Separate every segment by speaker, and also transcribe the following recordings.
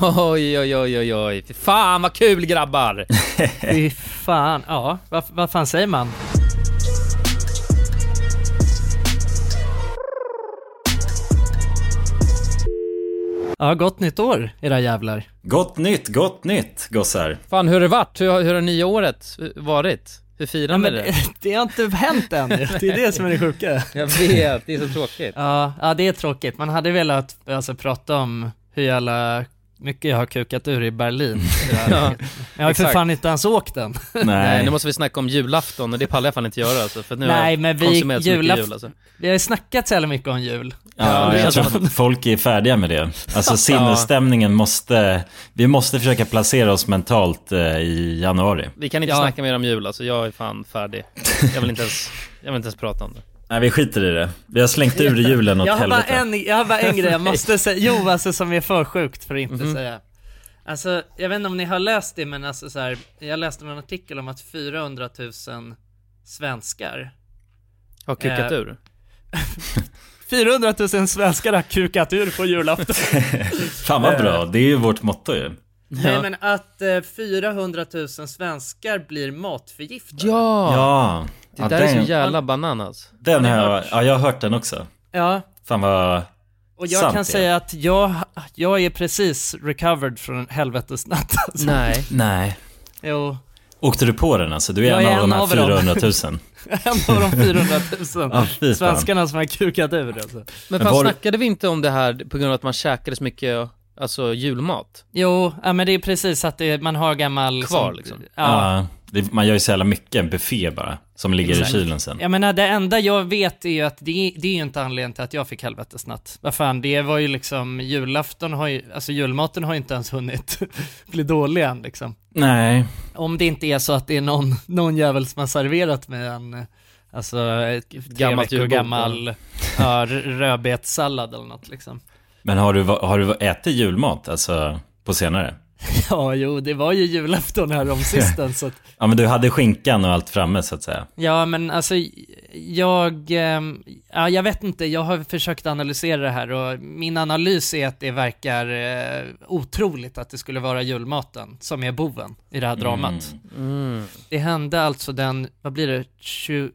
Speaker 1: Oj, oj, oj, oj, oj. Fy fan vad kul grabbar!
Speaker 2: Fy fan, ja, vad, vad fan säger man? Ja, gott nytt år era jävlar.
Speaker 3: Gott nytt, gott nytt gossar.
Speaker 1: Fan, hur har det varit? Hur, har- hur har nya året varit? Hur firar ni
Speaker 2: Men
Speaker 1: det?
Speaker 2: det, det har inte hänt än ju. det är det som är det sjuka.
Speaker 1: Jag vet, det är så tråkigt.
Speaker 2: Ja, ja, det är tråkigt. Man hade velat alltså, prata om hur jävla mycket jag har kukat ur i Berlin.
Speaker 1: Ja.
Speaker 2: Jag har ju för
Speaker 1: Exakt.
Speaker 2: fan inte ens åkt den.
Speaker 1: Nej,
Speaker 3: Nej,
Speaker 1: nu måste vi snacka om julafton och det pallar jag fan inte göra alltså, för nu har
Speaker 2: Nej,
Speaker 1: jag
Speaker 2: men vi-
Speaker 1: konsumerat så mycket
Speaker 2: julaf-
Speaker 1: jul alltså.
Speaker 2: Vi har ju snackat så jävla mycket om jul.
Speaker 3: ja,
Speaker 1: det är
Speaker 3: jag tror att folk är färdiga med det. Alltså sinnesstämningen måste... Vi måste försöka placera oss mentalt eh, i januari.
Speaker 1: Vi kan inte
Speaker 2: Ja.
Speaker 1: snacka mer om jul alltså, jag är fan färdig. Jag vill inte ens, jag vill inte ens prata om det.
Speaker 3: Nej, vi skiter i det. Vi har slängt ur julen åt
Speaker 2: Jag har, bara
Speaker 3: helvete.
Speaker 2: en, jag har bara en grej jag måste säga, jo alltså som är för sjukt för att inte
Speaker 3: Mhm.
Speaker 2: säga. Alltså, jag vet inte om ni har läst det men alltså så här, jag läste en artikel om att 400 000 svenskar
Speaker 1: Har kukat
Speaker 2: Eh,
Speaker 1: ur.
Speaker 2: 400 000 svenskar har kukat ur på julafton.
Speaker 3: Fan vad bra, det är ju vårt motto ju.
Speaker 2: Nej men att eh, 400 000 svenskar blir matförgiftade.
Speaker 1: Ja!
Speaker 3: Ja,
Speaker 1: Det
Speaker 3: ja
Speaker 1: där är
Speaker 3: den,
Speaker 1: så jävla alltså. bananas.
Speaker 3: den
Speaker 2: Har
Speaker 3: har
Speaker 2: ni
Speaker 3: jag,
Speaker 2: hört?
Speaker 3: ja, jag har hört den också.
Speaker 2: ja.
Speaker 3: Fan vad...
Speaker 2: Och jag
Speaker 3: Sant
Speaker 2: kan
Speaker 3: det.
Speaker 2: säga att jag, jag är precis recovered från helvetesnatt alltså.
Speaker 1: Nej.
Speaker 3: Nej.
Speaker 2: Jo,
Speaker 3: Åkte du på den alltså? Du är
Speaker 2: Jag
Speaker 3: en
Speaker 2: är
Speaker 3: av de
Speaker 2: en
Speaker 3: här
Speaker 2: av dem.
Speaker 3: 400 000.
Speaker 2: en av de 400 000
Speaker 3: Ja, fy fan.
Speaker 2: svenskarna som har kukat ur alltså.
Speaker 1: Men
Speaker 3: Men
Speaker 1: fan
Speaker 3: var-
Speaker 1: snackade vi inte om det här på grund av att man käkade så mycket, alltså julmat?
Speaker 2: Jo, ja, men det är precis att det, man har gammal...
Speaker 1: Kvar,
Speaker 2: som-
Speaker 1: liksom.
Speaker 2: Ja.
Speaker 3: Ja, det, man gör ju så jävla mycket, en buffé bara, som ligger i kylen sen.
Speaker 2: Jag menar, äh, det enda jag vet är ju att det, det är ju inte anledningen till att jag fick helvetesnatt. Vad fan, det var ju liksom, julafton har ju, alltså julmaten har ju inte ens hunnit bli dålig än liksom.
Speaker 3: Nej,
Speaker 2: Om det inte är så att det är någon, någon jävel som har serverat mig en, eh, alltså, ett tre
Speaker 1: Gammalt
Speaker 2: veckor
Speaker 1: julbord,
Speaker 2: gammal ja, r- rödbetssallad eller något liksom.
Speaker 3: men har du, va- har du ätit julmat alltså, på senare?
Speaker 2: Ja, jo, det var ju julafton här om sisten så att
Speaker 3: Ja, men du hade skinkan och allt framme så att säga.
Speaker 2: Ja, men alltså jag, ehm, ja, jag vet inte, jag har försökt analysera det här och min analys är att det verkar eh, otroligt att det skulle vara julmaten som är boven i det här dramat.
Speaker 1: Mm.
Speaker 2: Det hände alltså den, vad blir det, 26?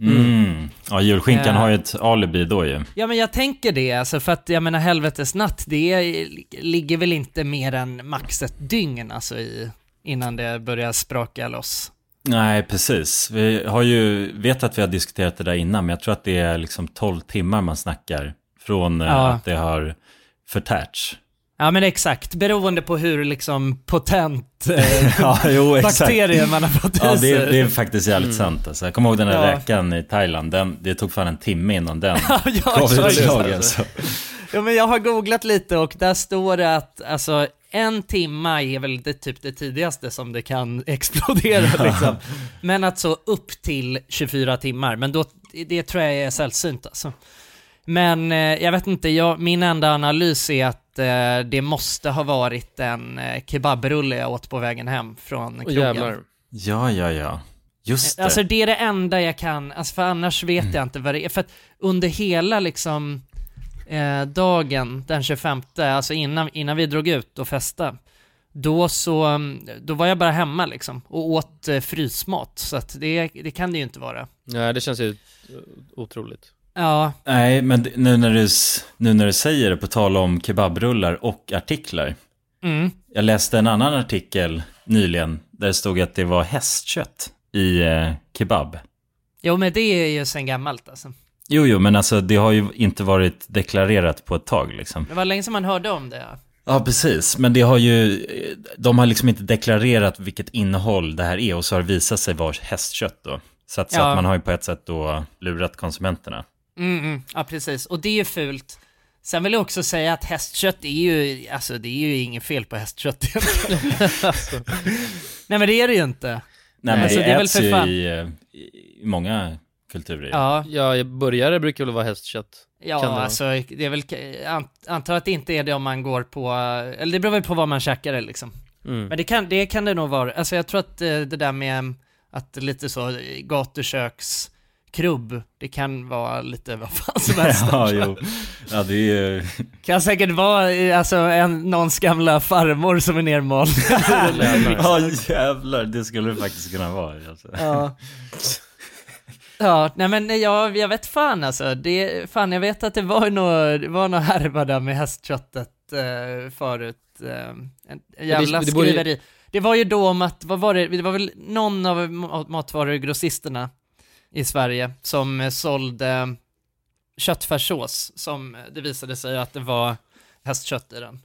Speaker 3: Mm. Ja, julskinkan
Speaker 2: Eh.
Speaker 3: har ju ett alibi då ju.
Speaker 2: Ja men jag tänker det, alltså för att jag menar helvetes natt, det är, ligger väl inte mer än max ett dygn alltså i, innan det börjar spraka loss.
Speaker 3: Nej, precis. Vi har ju, vet att vi har diskuterat det där innan, men jag tror att det är liksom 12 timmar man snackar från eh,
Speaker 2: Ja.
Speaker 3: att det har förtärts.
Speaker 2: Ja men exakt, beroende på hur liksom potent eh,
Speaker 3: Ja, jo,
Speaker 2: bakterier man har fått
Speaker 3: Ja,
Speaker 2: i sig.
Speaker 3: det, det är faktiskt jävligt sant. Alltså. Jag kommer ihåg den här
Speaker 2: Ja.
Speaker 3: räkan i Thailand. Den, det tog fan en timme innan den
Speaker 2: ja,
Speaker 3: gav
Speaker 2: exakt.
Speaker 3: utslag. Alltså.
Speaker 2: ja, men jag har googlat lite och där står det att alltså, en timma är väl det, typ det tidigaste som det kan explodera. liksom. Men att så upp till 24 timmar, men då, det tror jag är sällsynt alltså. Men eh, jag vet inte, jag, min enda analys är att eh, det måste ha varit en eh, kebabrulle jag åt på vägen hem från
Speaker 1: Och
Speaker 2: krogen.
Speaker 1: jävlar.
Speaker 3: Ja, ja, ja. Just det.
Speaker 2: Alltså det är det enda jag kan, alltså för annars vet jag inte vad det är. För att under hela liksom eh, dagen den 25, alltså innan, innan vi drog ut och festade, då så, mm, då var jag bara hemma liksom och åt eh, frysmat. Så att det, det kan det ju inte vara.
Speaker 1: Nej, det känns ju eh, otroligt.
Speaker 2: Ja,
Speaker 3: Nej, men d- nu när, du, s- nu när du säger det, på tal om kebabrullar och artiklar.
Speaker 2: mm.
Speaker 3: Jag läste en annan artikel nyligen där det stod att det var hästkött i eh, kebab.
Speaker 2: Jo men det är ju sen gammalt alltså.
Speaker 3: Jo, jo, men alltså det har ju inte varit deklarerat på ett tag liksom.
Speaker 2: Det var länge sedan man hörde om det. Ja.
Speaker 3: Ja, precis. Men det har ju, eh, de har liksom inte deklarerat vilket innehåll det här är och så har det visat sig vara hästkött då. Så att, så
Speaker 2: Ja.
Speaker 3: att man har ju på ett sätt då lurat konsumenterna.
Speaker 2: Mm, mm. ja precis, och det är ju fult. Sen vill jag också säga att hästkött är ju, alltså det är ju inget fel på hästkött Alltså. Nej men det är det ju inte.
Speaker 3: Nej, men
Speaker 2: Alltså,
Speaker 3: det,
Speaker 2: det är väl
Speaker 3: äts
Speaker 2: för
Speaker 3: ju
Speaker 2: fan-
Speaker 3: i, eh, i många kulturer. Ja.
Speaker 2: Ja,
Speaker 1: Ja, burgare brukar väl vara hästkött?
Speaker 2: ja
Speaker 1: Kan det vara.
Speaker 2: alltså det är väl, an, antar att det inte är det om man går på, eller det beror väl på vad man käkar det, liksom.
Speaker 1: Mm.
Speaker 2: Men det kan, det kan det nog vara, alltså jag tror att eh, det där med att lite så eh, gatuköks krubb. Det kan vara lite vad fan som helst.
Speaker 3: ja, jo. Ja, det är ju...
Speaker 2: Kan säkert vara eh, alltså, en, någons gamla farmor som är nermald.
Speaker 3: Ja, jävlar. Det skulle det faktiskt kunna vara. Alltså.
Speaker 2: ja. ja, nej men nej, jag, jag vet fan alltså. Det, fan jag vet att det var nå det var nå härva där med hästköttet eh, förut. Eh, en en jävla
Speaker 1: det borde-
Speaker 2: skriveri. Det var ju då om att, vad var det, det var väl någon av ma- matvarugrossisterna i Sverige som eh, sålde köttfärssås som eh, det visade sig att det var hästkött i den.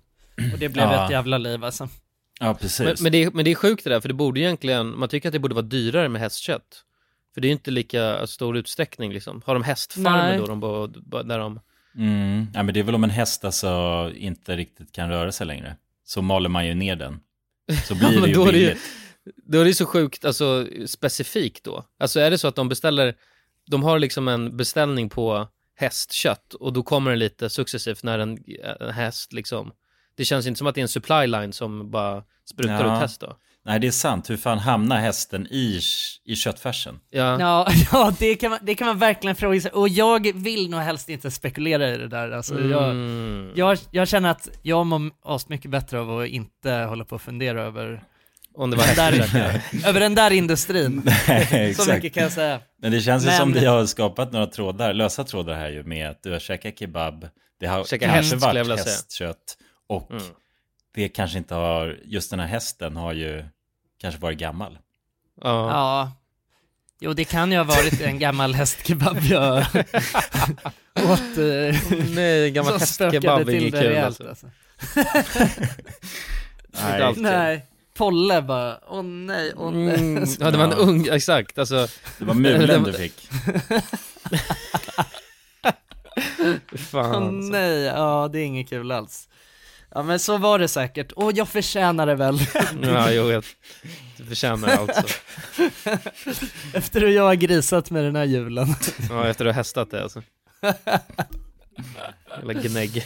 Speaker 2: Och det blev
Speaker 3: Ja.
Speaker 2: ett jävla liv alltså.
Speaker 3: Ja, precis.
Speaker 1: Men, men, det är, men det är sjukt det där, för det borde egentligen, man tycker att det borde vara dyrare med hästkött. För det är ju inte lika alltså, stor utsträckning liksom. Har de hästfarmer
Speaker 2: Nej.
Speaker 1: då, de bara, bara, där de...
Speaker 3: Mm. Ja, men det är väl om en häst alltså inte riktigt kan röra sig längre. Så maler man ju ner den. Så blir
Speaker 1: men
Speaker 3: det ju
Speaker 1: då är det ju-
Speaker 3: billigt.
Speaker 1: Då är det så sjukt, alltså specifikt då. Alltså är det så att de beställer, de har liksom en beställning på hästkött och då kommer det lite successivt när en, en häst liksom, det känns inte som att det är en supply line som bara sprutar
Speaker 3: Ja.
Speaker 1: ut häst då.
Speaker 3: Nej, det är sant. Hur fan hamnar hästen i, i köttfärsen?
Speaker 1: Ja,
Speaker 2: Ja, ja det, kan man, det kan man verkligen fråga sig. Och jag vill nog helst inte spekulera i det där. Alltså, jag,
Speaker 1: Mm.
Speaker 2: jag, jag känner att jag mår asmycket mycket bättre av att inte hålla på och fundera över,
Speaker 1: Om det var hästkött.
Speaker 2: över den där industrin.
Speaker 3: Nej,
Speaker 2: Så mycket kan jag säga.
Speaker 3: Men det känns ju
Speaker 2: Men-
Speaker 3: som vi har skapat några trådar, lösa trådar här ju med att du har käkat kebab, det har
Speaker 1: Käka häst,
Speaker 3: kanske
Speaker 1: skulle jag
Speaker 3: varit
Speaker 1: vilja säga.
Speaker 3: hästkött och
Speaker 1: Mm.
Speaker 3: det kanske inte har, just den här hästen har ju kanske varit gammal.
Speaker 1: Ja.
Speaker 2: Ja. Jo, det kan ju ha varit en gammal hästkebab jag åt. eh,
Speaker 1: Nej, gammal
Speaker 2: som
Speaker 1: hästkebab
Speaker 2: spökade
Speaker 1: är
Speaker 2: till
Speaker 1: inget
Speaker 2: det
Speaker 1: kul
Speaker 2: rejält.
Speaker 1: alltså.
Speaker 2: Alltså.
Speaker 1: Inte alls kul.
Speaker 2: Nej, Polle bara, åh nej, åh nej.
Speaker 1: Mm, ja, det var en
Speaker 3: Ja.
Speaker 1: ung, exakt. Alltså,
Speaker 3: Det var mulen du fick.
Speaker 1: fan.
Speaker 2: Åh
Speaker 1: alltså.
Speaker 2: nej, ja det är inget kul alls. Ja men så var det säkert, och jag förtjänar det väl
Speaker 1: Ja, jo, jag du förtjänar det alltså.
Speaker 2: efter hur jag har grisat med den här julen.
Speaker 1: Ja, efter att ha hästat det alltså. Jävla gnägg.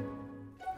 Speaker 4: All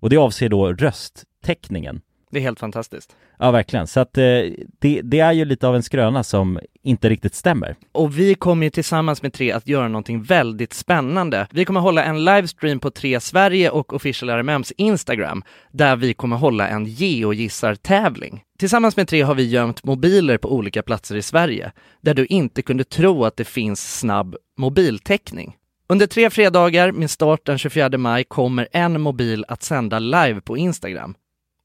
Speaker 5: Och det avser då rösttäckningen.
Speaker 2: Det är helt fantastiskt.
Speaker 5: Ja, verkligen. Så att eh, det, det är ju lite av en skröna som inte riktigt stämmer.
Speaker 2: Och vi kommer ju tillsammans med Tre att göra någonting väldigt spännande. Vi kommer hålla en livestream på Tre Sverige och Official RMMs Instagram där vi kommer hålla en geogissartävling. Tillsammans med Tre har vi gömt mobiler på olika platser i Sverige där du inte kunde tro att det finns snabb mobiltäckning. Under tre fredagar med start den 24 maj kommer en mobil att sända live på Instagram.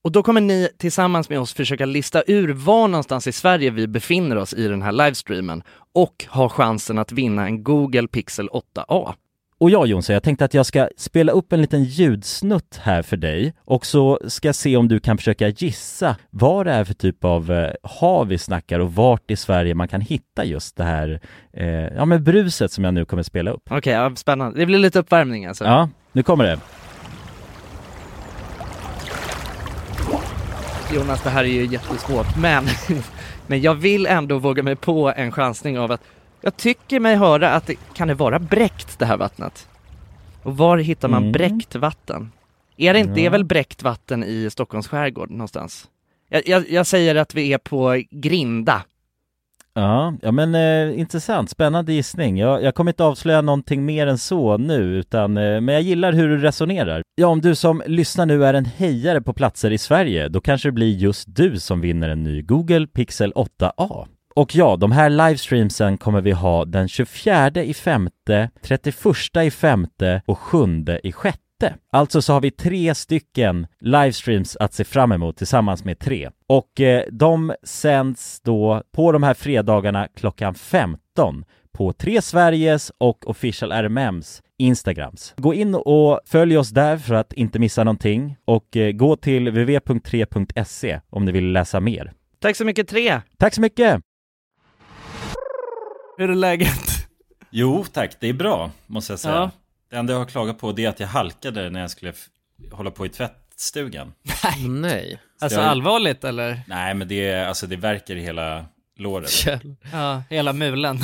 Speaker 2: Och då kommer ni tillsammans med oss försöka lista ur var någonstans i Sverige vi befinner oss i den här livestreamen och ha chansen att vinna en Google Pixel 8a.
Speaker 5: Och jag Jonsson, jag tänkte att jag ska spela upp en liten ljudsnutt här för dig och så ska jag se om du kan försöka gissa vad det är för typ av eh, hav vi snackar och vart i Sverige man kan hitta just det här eh, ja, men bruset som jag nu kommer spela upp.
Speaker 6: Okej, ja, spännande. Det blir lite uppvärmning alltså.
Speaker 5: Ja, nu kommer det.
Speaker 6: Jonas, det här är ju jättesvårt, men, men jag vill ändå våga mig på en chansning av att jag tycker mig höra att det kan det vara bräckt det här vattnet? Och var hittar man
Speaker 5: Mm.
Speaker 6: bräckt vatten? Är det inte, det
Speaker 5: Ja.
Speaker 6: är väl bräckt vatten i Stockholms skärgård någonstans? Jag, jag, jag säger att vi är på Grinda.
Speaker 5: Ja, ja men eh, intressant, spännande gissning. Jag, jag kommer inte avslöja någonting mer än så nu, utan, eh, men jag gillar hur du resonerar. Ja, om du som lyssnar nu är en hejare på platser i Sverige, då kanske det blir just du som vinner en ny Google Pixel 8A. Och ja, de här livestreamsen kommer vi ha den 24 i femte, 31 i femte och 7 i sjätte. Alltså så har vi tre stycken livestreams att se fram emot tillsammans med tre. Och eh, de sänds då på de här fredagarna klockan 15 på Tre Sveriges och Official RMMs Instagrams. Gå in och följ oss där för att inte missa någonting och eh, gå till www.3.se om ni vill läsa mer.
Speaker 6: Tack så mycket, tre!
Speaker 5: Tack så mycket!
Speaker 2: Hur är läget?
Speaker 3: Jo tack, det är bra måste jag säga.
Speaker 2: Ja.
Speaker 3: Det enda jag har klagat på det är att jag halkade när jag skulle f- hålla på i tvättstugan.
Speaker 1: Nej.
Speaker 2: Alltså allvarligt eller?
Speaker 3: Nej men det, är, alltså, det verkar i hela låret.
Speaker 1: Kjell.
Speaker 2: Ja, hela mulen.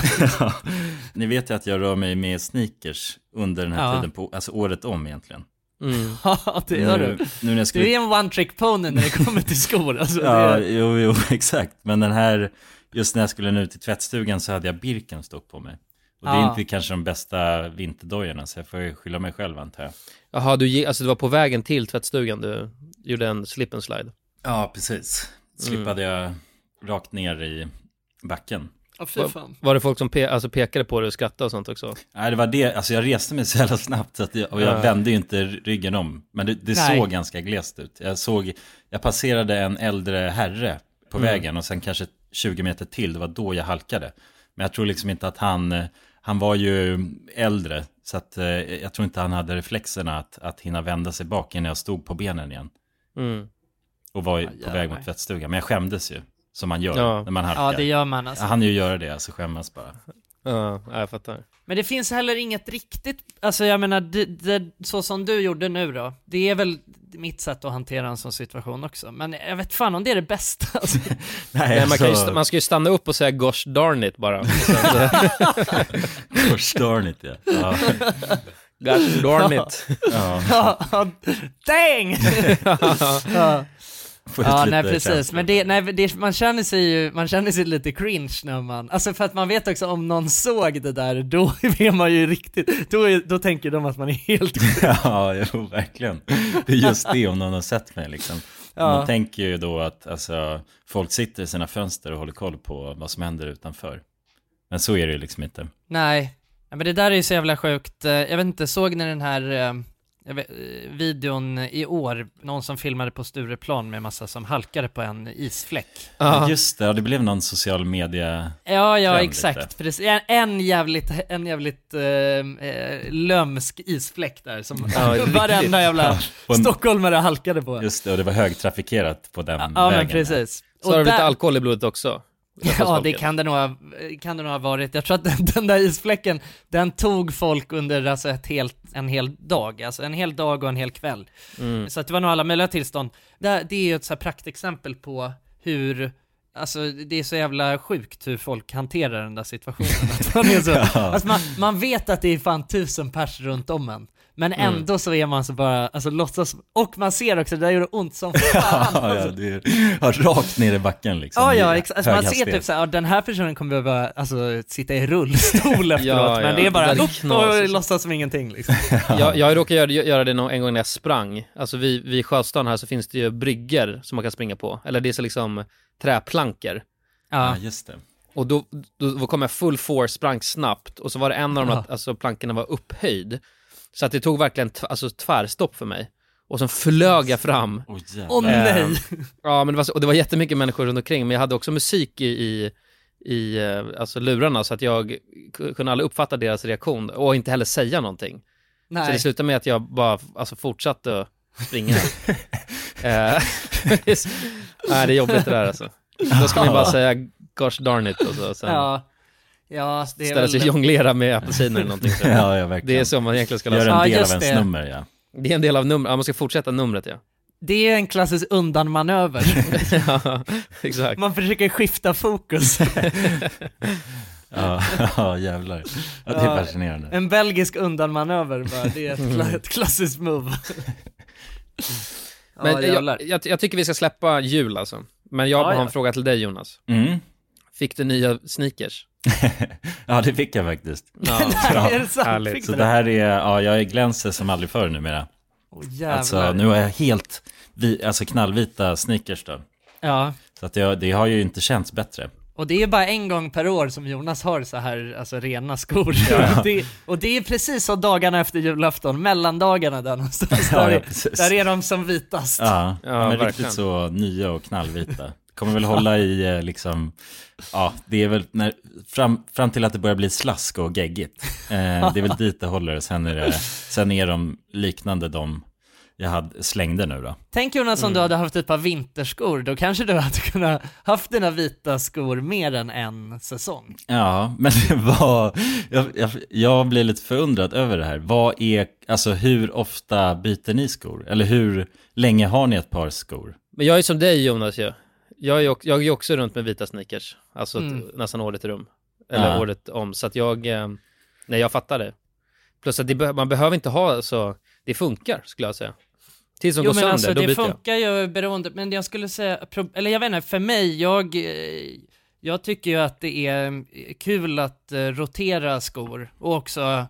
Speaker 3: Ni vet ju att jag rör mig med sneakers under den här
Speaker 2: Ja.
Speaker 3: tiden, på, alltså året om egentligen.
Speaker 1: Mm.
Speaker 2: ja, det gör du.
Speaker 3: Nu, nu när jag skulle
Speaker 2: Du är en one trick pony när det kommer till skor. Alltså,
Speaker 3: Ja,
Speaker 2: det,
Speaker 3: jo, jo, exakt. Men den här, just när jag skulle nu till tvättstugan så hade jag Birkenstock på mig. Och det är
Speaker 2: Ja.
Speaker 3: inte kanske de bästa vinterdojorna, så jag får ju skylla mig själv antar jag.
Speaker 1: Jaha, du, ge- alltså det var på vägen till tvättstugan du gjorde en slip and slide.
Speaker 3: Ja, precis. Slippade jag rakt ner i backen.
Speaker 2: oh, fy fan.
Speaker 1: Var det folk som pe- alltså pekade på dig och skrattade och sånt också?
Speaker 3: Nej, det var det. Alltså jag reste mig så jävla snabbt så att jag, och jag
Speaker 1: Ja.
Speaker 3: vände ju inte ryggen om. Men det, det
Speaker 2: Nej.
Speaker 3: såg ganska glest ut. Jag såg, jag passerade en äldre herre på
Speaker 1: Mm.
Speaker 3: vägen och sen kanske 20 meter till, det var då jag halkade. Men jag tror liksom inte att han, eh, han var ju äldre, så att eh, jag tror inte han hade reflexerna att, att hinna vända sig bak innan jag stod på benen igen.
Speaker 1: Mm.
Speaker 3: Och var ju på
Speaker 6: jävlar.
Speaker 3: väg mot tvättstugan. Men jag skämdes ju, som man gör
Speaker 1: Ja.
Speaker 3: när man halkar.
Speaker 2: Ja, det gör man
Speaker 3: Jag
Speaker 2: alltså.
Speaker 3: hann ju göra det, alltså skämmas bara.
Speaker 1: Ja, jag fattar.
Speaker 2: Men det finns heller inget riktigt, alltså jag menar, det, det, så som du gjorde nu då, det är väl mitt sätt att hantera en sån situation också. Men jag vet fan om det är det bästa. Alltså.
Speaker 1: Nej, man, kan ju,
Speaker 3: alltså-
Speaker 1: st- man ska ju stanna upp och säga gosh darn it bara. Och sen så-
Speaker 3: Förstör ni inte? Ja.
Speaker 1: gosh darn it.
Speaker 3: ja.
Speaker 2: Dang!
Speaker 3: Få ut
Speaker 2: Ja,
Speaker 3: lite
Speaker 2: nej precis.
Speaker 3: känslor.
Speaker 2: Men det, nej, det, man känner sig ju, man känner sig lite cringe när man, alltså för att man vet också om någon såg det där, då är man ju riktigt, då, är, då tänker de att man är helt
Speaker 3: Ja, jo, verkligen. Det är just det om någon har sett mig liksom. Man tänker ju då att alltså, folk sitter i sina fönster och håller koll på vad som händer utanför. Men så är det ju liksom inte.
Speaker 2: Nej, Ja, men det där är ju så jävla sjukt. Eh, Jag vet inte, såg ni den här eh, jag vet, eh, videon i år? Någon som filmade på Stureplan med massa som halkade på en isfläck.
Speaker 1: Ja.
Speaker 3: Just det, ja, det blev någon social media...
Speaker 2: Ja, ja,
Speaker 3: Trend
Speaker 2: exakt.
Speaker 3: lite.
Speaker 2: Precis. En, en jävligt, en jävligt eh, eh, lömsk isfläck där som
Speaker 1: riktigt.
Speaker 2: varenda jävla
Speaker 3: på en-
Speaker 2: stockholmare halkade på.
Speaker 3: Just det, och det var högtrafikerat på den
Speaker 2: ja,
Speaker 3: vägen.
Speaker 2: men precis.
Speaker 1: Så har det lite
Speaker 2: där-
Speaker 1: alkohol i blodet också.
Speaker 2: Ja, det kan det, nog ha, kan det nog ha varit. Jag tror att den, den där isfläcken, den tog folk under alltså ett helt, en hel dag, alltså en hel dag och en hel kväll.
Speaker 1: Mm.
Speaker 2: Så att det var nog alla möjliga tillstånd. Det, det är ju ett så här praktexempel på hur, alltså det är så jävla sjukt hur folk hanterar den där situationen. att man, är så, alltså man, man vet att det är fan tusen pers runt om en. Men
Speaker 1: Mm.
Speaker 2: ändå så är man så bara, alltså låtsas, och man ser också, det där gör det ont som fan.
Speaker 3: Ja, ja, det är, ja, rakt ner i backen liksom.
Speaker 2: Ja, ja,
Speaker 3: I
Speaker 2: exakt. Alltså, man
Speaker 3: hög
Speaker 2: ser typ
Speaker 3: hastighet.
Speaker 2: såhär, ja, den här personen kommer behöva alltså, sitta i rullstol efteråt,
Speaker 1: Ja,
Speaker 2: men
Speaker 1: ja,
Speaker 2: det är bara
Speaker 1: det där är
Speaker 2: upp
Speaker 1: knas,
Speaker 2: och
Speaker 1: alltså.
Speaker 2: låtsas som ingenting liksom.
Speaker 1: Jag, jag råkade göra, göra det någon, en gång när jag sprang. Alltså vi, vid Sjöstaden här så finns det ju bryggor som man kan springa på. Eller det är så liksom träplankor.
Speaker 2: Ja,
Speaker 3: Ja, just det.
Speaker 1: Och då, då, då kom jag full force, sprang snabbt och så var det en av de här, alltså, plankorna var upphöjd. Så att det tog verkligen t- alltså, tvärstopp för mig. Och sen flög jag fram.
Speaker 3: Åh
Speaker 2: åh
Speaker 1: Äh,
Speaker 3: jävlar.
Speaker 2: nej!
Speaker 1: Ja, men det var, så, och det var jättemycket människor runt omkring, men jag hade också musik i, i, i eh, alltså lurarna så att jag k- kunde aldrig uppfatta deras reaktion och inte heller säga någonting. Så det
Speaker 2: Nej.
Speaker 1: slutade med att jag bara alltså, fortsatte att springa. Eh, Nej, det är jobbigt det där alltså. Då ska man ju bara säga gosh darn it och så sen
Speaker 2: Ja. Ja, alltså, det är
Speaker 1: ställa sig och
Speaker 2: väl...
Speaker 1: jonglera med apelsiner eller någonting. Så.
Speaker 3: Ja, ja, verkligen.
Speaker 1: Det är så man egentligen ska
Speaker 3: Gör
Speaker 1: läsa.
Speaker 3: en
Speaker 2: Ja,
Speaker 3: del av
Speaker 2: just
Speaker 3: ens
Speaker 2: det.
Speaker 3: nummer, ja.
Speaker 1: Det är en del av numret, ja, man ska fortsätta numret ja.
Speaker 2: Det är en klassisk undanmanöver.
Speaker 1: ja exakt.
Speaker 2: Man försöker skifta fokus.
Speaker 3: Ja, ja jävlar. Ja, det är fascinerande.
Speaker 2: En belgisk undanmanöver bara, det är ett,
Speaker 1: Mm.
Speaker 2: kla- ett klassiskt move.
Speaker 1: Men
Speaker 2: ja, jävlar.
Speaker 1: jag, jag, jag tycker vi ska släppa jul alltså. Men jag
Speaker 2: Ja,
Speaker 1: har
Speaker 2: ja.
Speaker 1: en fråga till dig Jonas.
Speaker 3: Mm.
Speaker 1: Fick du nya sneakers?
Speaker 3: Ja, det fick jag faktiskt.
Speaker 1: Ja.
Speaker 3: Ja,
Speaker 2: är det sant?
Speaker 1: härligt.
Speaker 2: Fick
Speaker 3: Så
Speaker 2: du
Speaker 3: det här är, ja, jag är glänser som aldrig förr numera.
Speaker 2: Åh, jävlar.
Speaker 3: Alltså, nu har jag helt, vi, alltså knallvita sneakers då.
Speaker 2: Ja,
Speaker 3: Så att det, det har ju inte känts bättre.
Speaker 2: och det är bara en gång per år som Jonas har så här, alltså rena skor. Det, och det är precis som dagarna efter julafton, mellandagarna där någonstans.
Speaker 3: Ja,
Speaker 2: där,
Speaker 3: ja,
Speaker 2: är,
Speaker 3: precis.
Speaker 2: där är de som vitast.
Speaker 3: Ja,
Speaker 1: Ja,
Speaker 3: men
Speaker 1: verkligen.
Speaker 3: riktigt så nya och knallvita. Kommer väl hålla i eh, liksom, ja, det är väl när, fram, fram till att det börjar bli slask och geggigt. Eh, det är väl dit det håller, sen är, det, sen är de liknande de jag hade, slängde nu då.
Speaker 2: Tänk Jonas
Speaker 3: Mm.
Speaker 2: om du hade haft ett par vinterskor, då kanske du hade kunnat haft dina vita skor mer än en säsong.
Speaker 3: Ja, men det var, jag, jag, jag blir lite förundrad över det här. Vad är, alltså hur ofta byter ni skor? Eller hur länge har ni ett par skor?
Speaker 1: Men jag är som dig Jonas ju. Jag är ju ock- jag är ju också runt med vita sneakers. Alltså
Speaker 2: Mm.
Speaker 1: t- nästan året rum. Eller
Speaker 3: Ja.
Speaker 1: året om. Så att jag, eh, nej jag fattar det. Plus att det be- man behöver inte ha så, det funkar skulle jag säga. Tills de
Speaker 2: Jo
Speaker 1: går
Speaker 2: men
Speaker 1: sönder,
Speaker 2: alltså
Speaker 1: då
Speaker 2: det
Speaker 1: byter
Speaker 2: funkar ju beroende, men jag skulle säga, pro- eller jag vet inte, för mig, jag, eh, jag tycker ju att det är eh, kul att eh, rotera skor och också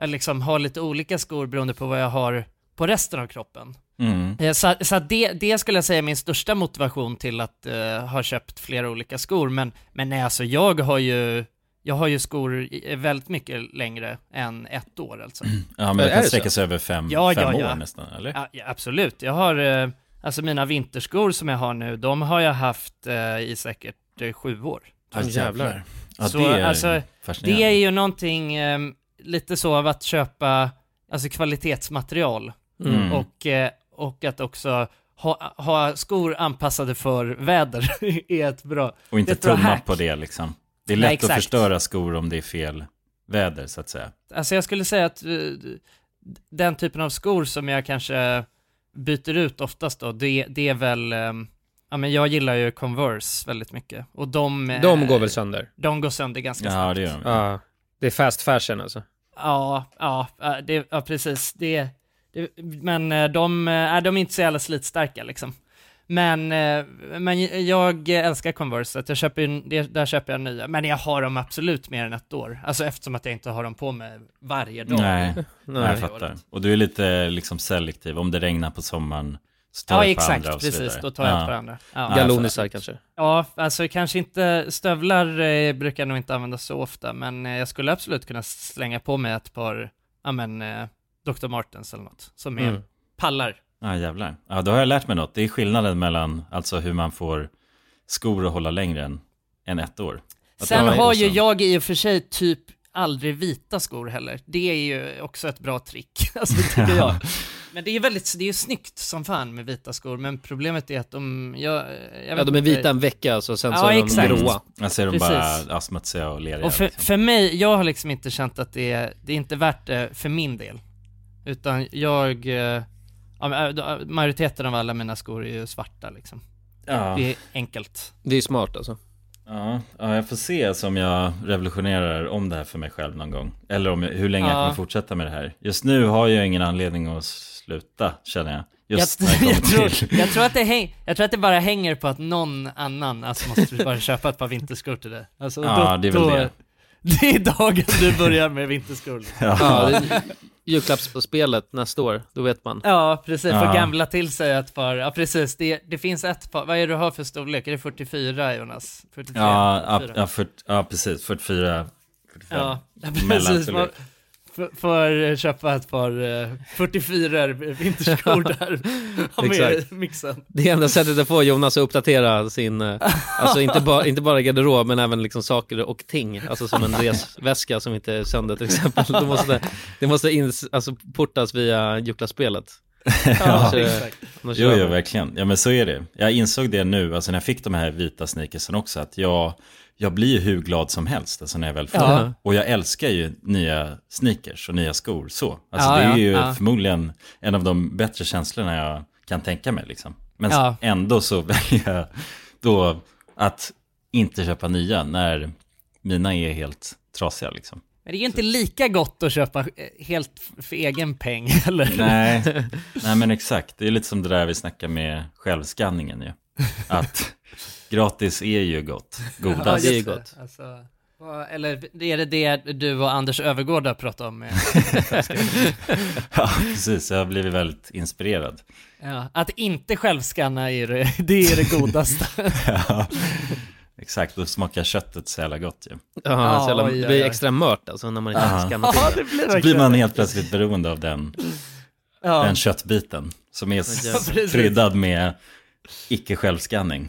Speaker 2: eh, liksom ha lite olika skor beroende på vad jag har på resten av kroppen.
Speaker 3: Mm.
Speaker 2: Eh, Så, så att det, det skulle jag säga är min största motivation till att eh, ha köpt flera olika skor, men, men nej alltså jag har ju, jag har ju skor i- eh, väldigt mycket längre än ett år alltså.
Speaker 3: Ja, men
Speaker 1: Är
Speaker 3: det kan
Speaker 1: det så?
Speaker 3: sträcka sig över fem,
Speaker 2: Ja,
Speaker 3: fem
Speaker 2: ja,
Speaker 3: år
Speaker 2: ja.
Speaker 3: nästan, eller?
Speaker 2: Ja, ja, absolut. Jag har, eh, alltså mina vinterskor som jag har nu, de har jag haft eh, i säkert eh, sju år.
Speaker 3: Ja,
Speaker 1: Åh, jävlar.
Speaker 3: Alltså, Ja,
Speaker 2: Så,
Speaker 3: det är
Speaker 2: alltså,
Speaker 3: fascinerande.
Speaker 2: Det är ju någonting eh, lite så av att köpa, alltså kvalitetsmaterial
Speaker 1: jag. Mm.
Speaker 3: Mm.
Speaker 2: och, eh, och att också ha, ha skor anpassade för väder är ett bra,
Speaker 3: Och inte
Speaker 2: det är ett bra
Speaker 3: tumma
Speaker 2: hack.
Speaker 3: på det liksom. Det är
Speaker 2: Nej,
Speaker 3: lätt att
Speaker 2: exakt.
Speaker 3: förstöra skor om det är fel väder, så att säga.
Speaker 2: Alltså jag skulle säga att eh, den typen av skor som jag kanske byter ut oftast då, det, det är väl, eh, ja men jag gillar ju Converse väldigt mycket. Och de... eh,
Speaker 1: De går väl sönder?
Speaker 2: De går sönder ganska snabbt.
Speaker 3: Ja, det gör de.
Speaker 1: Ja. Det är fast fashion alltså.
Speaker 2: Ja, ja, ja, det, ja precis. Det, det, men eh, de, eh, de är inte så jävla slitstarka liksom. Men, eh, men jag älskar Converse, så att jag köper, ju- det- där köper jag nya. Men jag har dem absolut mer än ett år. Alltså eftersom att jag inte har dem på mig varje dag.
Speaker 3: Nej,
Speaker 1: Nej,
Speaker 3: jag fattar. Och du är lite liksom selektiv. Om det regnar på sommaren så tar
Speaker 2: Ja,
Speaker 3: du ett par
Speaker 2: exakt,
Speaker 3: andra och så
Speaker 2: precis.
Speaker 3: vidare.
Speaker 2: Då tar jag
Speaker 3: ja.
Speaker 2: ett par andra. Ja.
Speaker 3: Ja.
Speaker 1: Galonisar kanske.
Speaker 2: ja, alltså kanske inte, stövlar eh, brukar jag nog inte använda så ofta, men eh, jag skulle absolut kunna slänga på mig ett par, ja men, eh, Dr. Martens eller något, som är
Speaker 1: Mm.
Speaker 2: pallar.
Speaker 3: Ja, jävlar. Ja, då har jag lärt mig något. Det är skillnaden mellan alltså hur man får skor att hålla längre än, än ett år. Att
Speaker 2: Sen
Speaker 3: de- liksom-
Speaker 2: har
Speaker 3: och
Speaker 2: ju
Speaker 3: sen-
Speaker 2: jag i och för sig typ aldrig vita skor heller. Det är ju också ett bra trick, alltså det tycker jag. Men det är ju väldigt, det är ju snyggt som fan med vita skor, men problemet är att de, jag, jag vet
Speaker 1: Ja, de är
Speaker 2: inte.
Speaker 1: vita en vecka alltså, sen så
Speaker 2: Ja,
Speaker 1: är de
Speaker 2: exakt.
Speaker 1: gråa.
Speaker 3: Jag ser dem
Speaker 2: Precis.
Speaker 3: bara ja, smutsiga och leriga.
Speaker 2: Och för,
Speaker 3: liksom.
Speaker 2: för mig, jag har liksom inte känt att det är, det är inte värt det för min del. Utan jag, eh, ja, men, eh, majoriteten av alla mina skor är ju svarta liksom.
Speaker 3: ja.
Speaker 2: Det är enkelt.
Speaker 1: Det är smart alltså.
Speaker 3: Ja, ja, jag får se som jag revolutionerar om det här för mig själv någon gång. Eller om jag, hur länge jag
Speaker 2: Ja.
Speaker 3: kommer fortsätta med det här. Just nu har jag ingen anledning att sluta, känner jag. Just när
Speaker 2: jag,
Speaker 3: jag kommer
Speaker 2: jag,
Speaker 3: till.
Speaker 2: tror, jag, tror att det häng, jag tror att det bara hänger på att någon annan, alltså måste du bara köpa ett par vinterskor till dig. Alltså,
Speaker 3: Ja, det är väl det.
Speaker 2: Det är dagen du börjar med vinterskor.
Speaker 1: Ja, det- julklappsspelet nästa år, då vet man.
Speaker 2: Ja, precis. Få
Speaker 3: Ja.
Speaker 2: gamla till sig ett par. Ja, precis. Det, det finns ett par. Vad är det du har för storlek? Är det 44, Jonas? 43,
Speaker 3: Ja, ja,
Speaker 2: 44?
Speaker 3: ja, fyrt- ja precis. 44, 45.
Speaker 2: Ja,
Speaker 3: Mellan
Speaker 2: precis.
Speaker 3: storlek.
Speaker 2: Man, F- får köpa ett par eh, 44 vinterskor där. Ha med i
Speaker 1: Exakt.
Speaker 2: mixen.
Speaker 1: Det enda sättet att få Jonas att uppdatera sin, eh, alltså inte, ba, inte bara garderob men även liksom saker och ting, alltså som en resväska som inte är sönder till exempel. Det måste, det måste ins, alltså portas via Jukla-spelet.
Speaker 2: Ja,
Speaker 1: Annars, eh,
Speaker 2: exakt.
Speaker 1: annars
Speaker 3: Jo,
Speaker 1: gör
Speaker 3: jo,
Speaker 1: man-
Speaker 3: verkligen. Ja, men så är det. Jag insåg det nu, alltså när jag fick de här vita sneakersen också, att jag, jag blir ju hur glad som helst alltså när jag väl får.
Speaker 1: Ja.
Speaker 3: Och jag älskar ju nya sneakers och nya skor så. Alltså
Speaker 2: Ja,
Speaker 3: det är
Speaker 2: ja,
Speaker 3: ju
Speaker 2: ja.
Speaker 3: förmodligen en av de bättre känslorna jag kan tänka mig liksom. Men
Speaker 2: Ja.
Speaker 3: ändå så väljer jag då att inte köpa nya när mina är helt trasiga liksom.
Speaker 2: Men det är ju inte lika gott att köpa eh, helt f- för egen peng eller?
Speaker 3: Nej. Nej, men exakt. Det är lite som det där vi snackar med självskanningen ju. Att gratis är ju gott,
Speaker 1: Ja,
Speaker 3: godast.
Speaker 1: det är ju gott.
Speaker 2: Alltså, vad- eller är det det du och Anders Övergård har pratat om? eh?
Speaker 3: Ja, precis. Jag har blivit väldigt inspirerad.
Speaker 2: Ja, att inte självskanna är ju det, det, är det godaste.
Speaker 3: Ja, exakt, då smakar köttet så jävla gott ju.
Speaker 1: Ja, så jävla,
Speaker 2: Oj, oj,
Speaker 1: det blir
Speaker 2: oj.
Speaker 1: extra mört alltså när man inte
Speaker 3: Aha.
Speaker 1: skannar till det.
Speaker 3: Så blir man helt plötsligt beroende av den,
Speaker 2: ja.
Speaker 3: den köttbiten som är s-
Speaker 1: Ja,
Speaker 2: precis.
Speaker 3: kryddad med icke självskanning.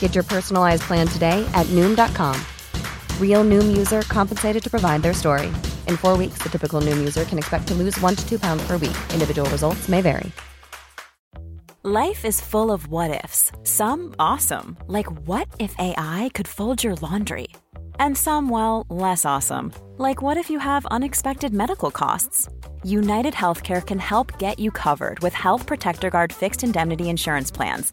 Speaker 7: Get your personalized plan today at Noom.com. Real Noom user compensated to provide their story. In four weeks, the typical Noom user can expect to lose one to two pounds per week. Individual results may vary.
Speaker 8: Life is full of what ifs. Some awesome, like what if AI could fold your laundry? And some, well, less awesome, like what if you have unexpected medical costs? United Healthcare can help get you covered with Health Protector Guard fixed indemnity insurance plans.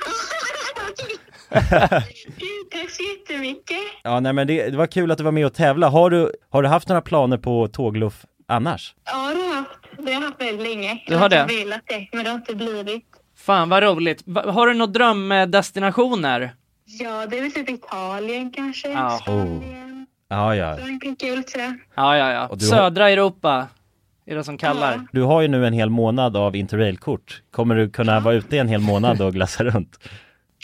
Speaker 9: Tack så jättemycket.
Speaker 5: Ja, nej men det, det var kul att du var med och tävla. Har du, har du haft några planer på tågluff annars?
Speaker 9: Ja, det har jag haft. Det har jag haft väldigt länge.
Speaker 2: Du har det?
Speaker 9: Jag har velat det, men det har inte blivit.
Speaker 2: Fan vad roligt. Va- Har du några drömdestinationer?
Speaker 9: Ja, det är väl typ Italien kanske.
Speaker 2: Ja.
Speaker 9: Spanien.
Speaker 5: Ja, ja.
Speaker 9: Frankrike är väl sådär.
Speaker 2: Ja, ja, ja.
Speaker 5: du har-
Speaker 2: Södra Europa är det som kallar.
Speaker 5: Du har ju nu en hel månad av interrailkort. Kommer du kunna vara ute i en hel månad och glassa runt?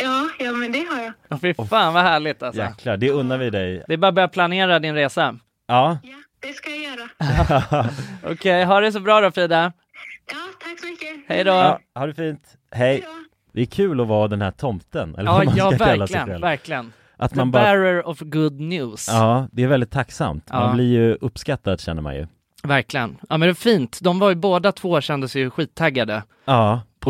Speaker 9: Ja, ja, men det har jag.
Speaker 2: Ja. Fy fan vad härligt alltså.
Speaker 5: Jäklar, det unnar vi dig.
Speaker 2: Det är bara att börja planera din resa.
Speaker 5: Ja,
Speaker 9: Ja, det ska jag göra.
Speaker 2: Okej, ha det så bra då Frida.
Speaker 9: Ja, tack så mycket.
Speaker 2: Hej då.
Speaker 5: ja ha det fint. Hej. Det är kul att vara den här tomten, eller
Speaker 2: Ja,
Speaker 5: vad man
Speaker 2: ja
Speaker 5: ska kalla sig
Speaker 2: verkligen,
Speaker 5: själv.
Speaker 2: verkligen.
Speaker 5: Att
Speaker 2: The
Speaker 5: man bara,
Speaker 2: bearer of good news.
Speaker 5: ja, det är väldigt tacksamt. Man
Speaker 2: Ja.
Speaker 5: blir ju uppskattad känner man ju.
Speaker 2: Verkligen. Ja men det är fint. De var ju båda två kändes ju skittaggade
Speaker 5: Ja,
Speaker 1: Oh.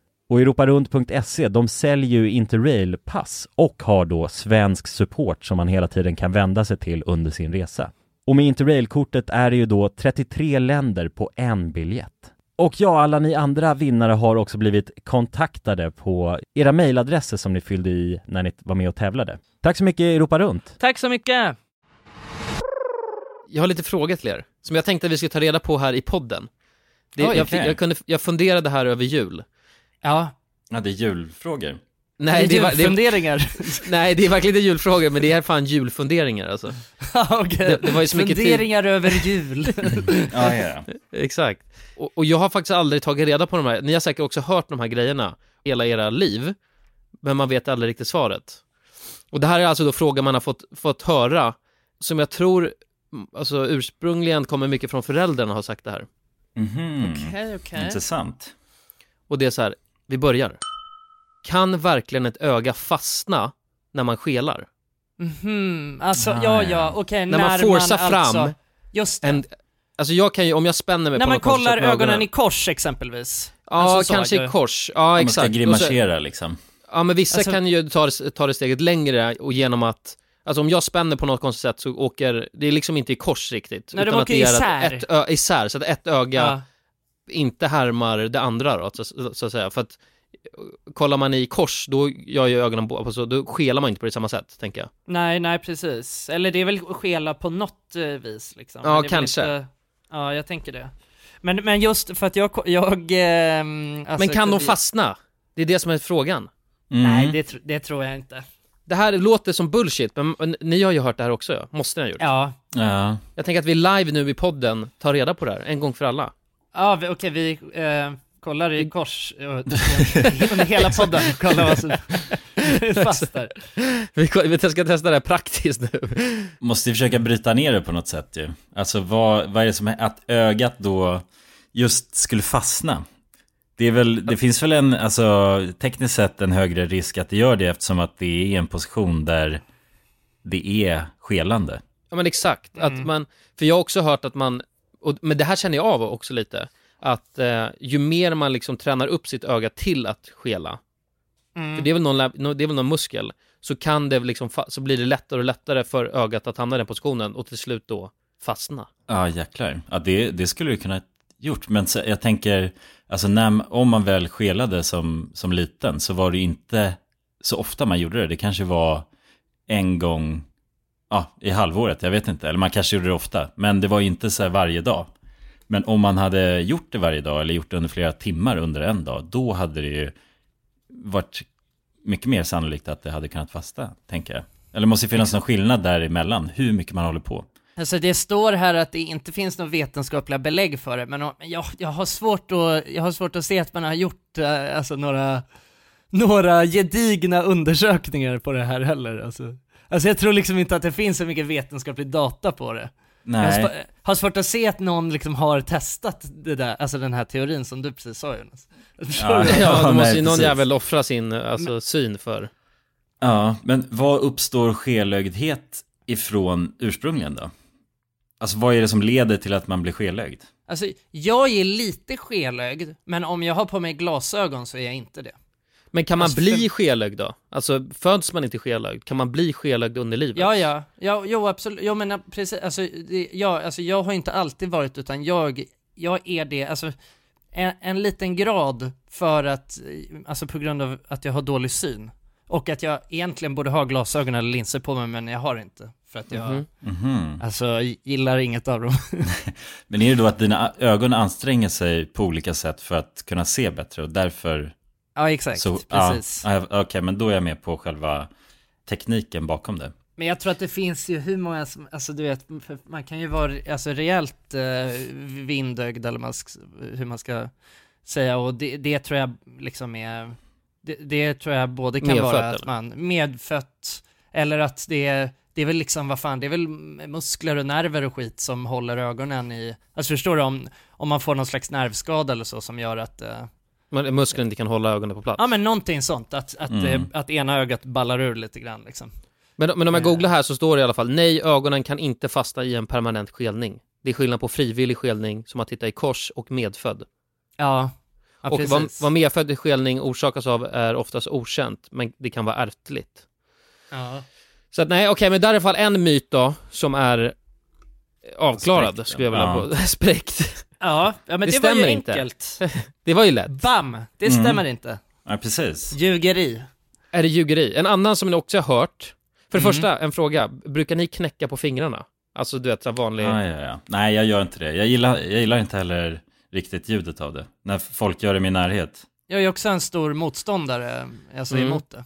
Speaker 5: Och europarunt.se, E, de säljer ju Interrail-pass och har då svensk support som man hela tiden kan vända sig till under sin resa. Och med Interrail-kortet är det ju då 33 länder på en biljett. Och ja, alla ni andra vinnare har också blivit kontaktade på era mejladresser som ni fyllde i när ni var med och tävlade. Tack så mycket Europa Runt!
Speaker 2: Tack så mycket!
Speaker 1: Jag har lite frågor till er, som jag tänkte att vi skulle ta reda på här i podden. Det,
Speaker 3: Oj,
Speaker 1: jag,
Speaker 3: okej.
Speaker 1: fick- jag, kunde, jag funderade här över jul.
Speaker 2: Ja,
Speaker 3: Ja, det är julfrågor.
Speaker 1: Nej, det, är va- det,
Speaker 2: funderingar.
Speaker 1: nej, det är verkligen inte julfrågor, men det är fan julfunderingar alltså. Det- det var ju så mycket tid- Mm.
Speaker 2: funderingar över jul.
Speaker 3: Ja, ja.
Speaker 1: Exakt. Och, och jag har faktiskt aldrig tagit reda på de här, ni har säkert också hört de här grejerna hela era liv, men man vet aldrig riktigt svaret. Och det här är alltså då frågor man har fått, fått höra, som jag tror, mm, alltså ursprungligen kommer mycket från föräldrarna har sagt det här.
Speaker 3: Mhm.
Speaker 2: Okej, okej.
Speaker 3: Intressant.
Speaker 1: Och det är så här, vi börjar. Kan verkligen ett öga fastna när man skelar?
Speaker 2: Mhm, alltså
Speaker 3: Ah,
Speaker 2: ja,
Speaker 3: ja.
Speaker 2: ja, okej,
Speaker 1: När man forcear fram
Speaker 2: alltså, just det.
Speaker 1: En, alltså jag kan ju, om jag spänner mig
Speaker 2: när
Speaker 1: på
Speaker 2: man
Speaker 1: något konstigt
Speaker 2: kollar
Speaker 1: med
Speaker 2: ögonen, i kors exempelvis.
Speaker 1: Ja,
Speaker 2: alltså så,
Speaker 1: kanske
Speaker 2: ja.
Speaker 1: i kors. Ja,
Speaker 3: Om man ska
Speaker 1: exakt. Och så-
Speaker 3: grimasera liksom.
Speaker 1: Ja, men vissa
Speaker 2: Alltså-
Speaker 1: kan ju ta det, ta det steget längre och genom att, alltså om jag spänner på något konstigt sätt så åker, det är liksom inte i kors riktigt.
Speaker 2: Nej, de
Speaker 1: utan
Speaker 2: åker
Speaker 1: att det är att
Speaker 2: isär.
Speaker 1: Ett ö, isär, så att ett öga
Speaker 2: Ja.
Speaker 1: inte härmar det andra då, så, så att säga. För att eh, kollar man i kors, då gör ju ögonen på, alltså, då skelar man inte på det samma sätt, tänker jag.
Speaker 2: Nej, nej precis. Eller det är väl att skela på något eh, vis liksom.
Speaker 1: Ja,
Speaker 2: Men det är väl
Speaker 1: kanske.
Speaker 2: Inte... Ja, jag tänker det. Men, men just för att jag... ko- jag ehm, alltså,
Speaker 1: Men kan de
Speaker 2: vi-
Speaker 1: fastna? Det är det som är frågan.
Speaker 3: Mm.
Speaker 2: Nej, det, tr- det tror jag inte.
Speaker 1: Det här låter som bullshit, men men ni har ju hört det här också, ja. måste ni ha gjort.
Speaker 2: Ja,
Speaker 3: Ja.
Speaker 1: Jag tänker att vi live nu i podden tar reda på det här, en gång för alla.
Speaker 2: ja vi, okej vi eh, kollar i kors eh, under hela podden. Kolla vad som fast där.
Speaker 1: Vi, vi ska testa det här praktiskt nu.
Speaker 3: Måste ju försöka bryta ner det på något sätt ju. Alltså vad, vad är det som är att ögat då just skulle fastna? Det, är väl, det finns väl en, alltså tekniskt sett en högre risk att det gör det eftersom att det är en position där det är skelande.
Speaker 1: Ja men exakt,
Speaker 2: Mm.
Speaker 1: att man, för jag har också hört att man, och, men det här känner jag av också lite, att eh, ju mer man liksom tränar upp sitt öga till att skela,
Speaker 2: Mm.
Speaker 1: för det är väl någon, lä- nå- det är väl någon muskel, så kan det väl liksom, fa- så blir det lättare och lättare för ögat att hamna i den positionen och till slut då fastna.
Speaker 3: Ja, jäklar. Ja, det, det skulle du kunna gjort. Men så, jag tänker, alltså när, om man väl skelade som, som liten så var det ju inte så ofta man gjorde det. Det kanske var en gång ja, i halvåret, jag vet inte. Eller man kanske gjorde det ofta. Men det var ju inte så här varje dag. Men om man hade gjort det varje dag eller gjort det under flera timmar under en dag, då hade det ju varit mycket mer sannolikt att det hade kunnat fasta, tänker jag. Eller det måste ju finnas någon skillnad däremellan, hur mycket man håller på.
Speaker 2: Alltså det står här att det inte finns några vetenskapliga belägg för det, men jag, jag, har, svårt att, jag har svårt att se att man har gjort eh, alltså, några, några gedigna undersökningar på det här heller. Alltså. alltså jag tror liksom inte att det finns så mycket vetenskaplig data på det.
Speaker 3: Nej.
Speaker 2: Jag har sv- har svårt att se att någon liksom har testat det där, alltså den här teorin som du precis sa Jonas.
Speaker 1: Ja,
Speaker 3: Ja,
Speaker 1: då måste
Speaker 3: nej,
Speaker 1: ju någon
Speaker 3: precis.
Speaker 1: jävel offra sin alltså, syn för.
Speaker 3: Ja, men vad uppstår skelögdhet ifrån ursprungligen då? Alltså vad är det som leder till att man blir skelögd?
Speaker 2: Alltså jag är lite skelögd, men om jag har på mig glasögon så är jag inte det.
Speaker 1: Men kan man
Speaker 2: Alltså,
Speaker 1: bli
Speaker 2: för-
Speaker 1: skelögd då? Alltså föds man inte skelögd? Kan man bli skelögd under livet?
Speaker 2: Ja, ja, ja, jo absolut, jag menar precis, alltså, det, ja, alltså jag har inte alltid varit utan jag, jag är det, alltså en, en liten grad för att, eh, alltså på grund av att jag har dålig syn. Och att jag egentligen borde ha glasögon eller linser på mig men jag har inte. För att jag,
Speaker 1: Mhm.
Speaker 3: Mhm.
Speaker 2: alltså jag gillar inget av dem.
Speaker 3: Men är det då att dina ögon anstränger sig på olika sätt för att kunna se bättre och därför...
Speaker 2: ja exakt,
Speaker 3: så- ja,
Speaker 2: precis.
Speaker 3: ja, Okej, men då är jag med på själva tekniken bakom det.
Speaker 2: Men jag tror att det finns ju hur många som, alltså du vet, för man kan ju vara alltså, rejält eh, vindögd eller man, sk- hur man ska säga och det, det tror jag liksom är, det, det tror jag både kan
Speaker 1: Medfött,
Speaker 2: vara att
Speaker 1: eller?
Speaker 2: man, medfött, eller att det, det är väl liksom, vad fan, det är väl muskler och nerver och skit som håller ögonen i, alltså förstår du om, om man får någon slags nervskada eller så som gör att eh,
Speaker 1: Man, musklerna inte kan hålla ögonen på plats.
Speaker 2: Ja men någonting sånt, att, att,
Speaker 3: Mm.
Speaker 2: eh, att ena ögat ballar ur lite grann liksom.
Speaker 1: Men, men om jag
Speaker 2: Eh.
Speaker 1: googlar här så står det i alla fall, nej, ögonen kan inte fastna i en permanent skelning. Det är skillnad på frivillig skelning, som att titta i kors, och medfödd.
Speaker 2: Ja, ja
Speaker 1: och vad,
Speaker 2: precis.
Speaker 1: vad medfödd skelning orsakas av är oftast okänt, men det kan vara ärftligt.
Speaker 2: ja.
Speaker 1: Så att nej, okej, men där är i alla fall en myt då, som är avklarad,
Speaker 3: Spräckt,
Speaker 1: skulle jag vilja
Speaker 3: ja.
Speaker 1: på. Spräckt.
Speaker 2: Ja, ja, men
Speaker 1: Det
Speaker 2: det, var ju
Speaker 1: stämmer inte.
Speaker 2: enkelt.
Speaker 1: Det var ju lätt.
Speaker 2: Bam! Det
Speaker 3: Mm.
Speaker 2: stämmer inte.
Speaker 3: Ja, precis.
Speaker 2: Ljugeri.
Speaker 1: Är det ljugeri? En annan som ni också har hört. För det
Speaker 2: Mm.
Speaker 1: första, en fråga. Brukar ni knäcka på fingrarna? Alltså du vet, så här vanlig...
Speaker 3: Ja, ja, ja. Nej, jag gör inte det. Jag gillar, jag gillar inte heller riktigt ljudet av det. När folk gör det i min närhet.
Speaker 2: Jag är också en stor motståndare, alltså
Speaker 1: Mm.
Speaker 2: emot det.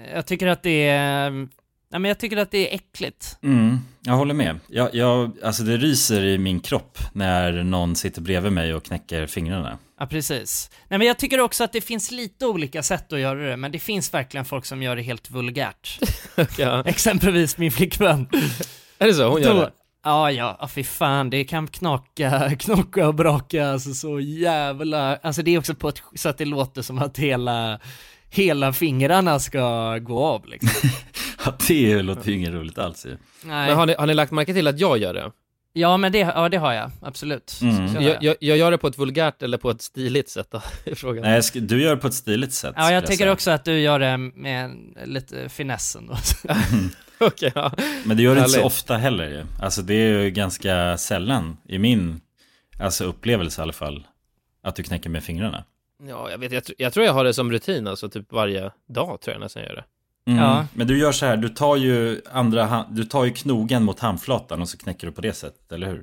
Speaker 2: Eh, Jag tycker att det är, eh, nej men jag tycker att det är äckligt.
Speaker 3: Mm, jag håller med. Jag, jag, alltså det ryser i min kropp när någon sitter bredvid mig och knäcker fingrarna.
Speaker 2: Ja precis. Nej men jag tycker också att det finns lite olika sätt att göra det, men det finns verkligen folk som gör det helt vulgärt.
Speaker 1: Ja.
Speaker 2: Exempelvis min flickvän.
Speaker 1: Är det så? Hon gör
Speaker 2: Då-
Speaker 1: det?
Speaker 2: Ja, ja, ja, fy fan, det kan knaka, knocka och braka, alltså så jävla, alltså det är också på ett, så att det låter som att hela, hela fingrarna ska gå av liksom.
Speaker 3: Ja, det låter ju inget roligt alls ju.
Speaker 2: Nej.
Speaker 1: Men har ni, har ni lagt märke till att jag gör det?
Speaker 2: Ja, men det, ja, det har jag, absolut.
Speaker 3: Mm.
Speaker 2: Så- så har
Speaker 1: Jag, jag, jag gör det på ett vulgärt eller på ett stiligt sätt då, i frågan.
Speaker 3: Nej, jag sk- du gör det på ett stiligt sätt.
Speaker 2: Ja,
Speaker 3: skulle
Speaker 2: jag tycker
Speaker 3: säga.
Speaker 2: också att du gör det med en- lite finessen då.
Speaker 1: Okej, ja.
Speaker 3: Men det gör du inte så
Speaker 1: Härligt.
Speaker 3: ofta heller ju. Alltså det är ju ganska sällan i min alltså, upplevelse i alla fall. Att du knäcker med fingrarna.
Speaker 1: ja jag, vet, jag, tr- jag tror jag har det som rutin, alltså typ varje dag tror jag nästan jag gör det.
Speaker 3: Mm.
Speaker 2: Ja.
Speaker 3: Men du gör så här, du tar ju andra hand, du tar ju knogen mot handflatan och så knäcker du på det sättet, eller hur?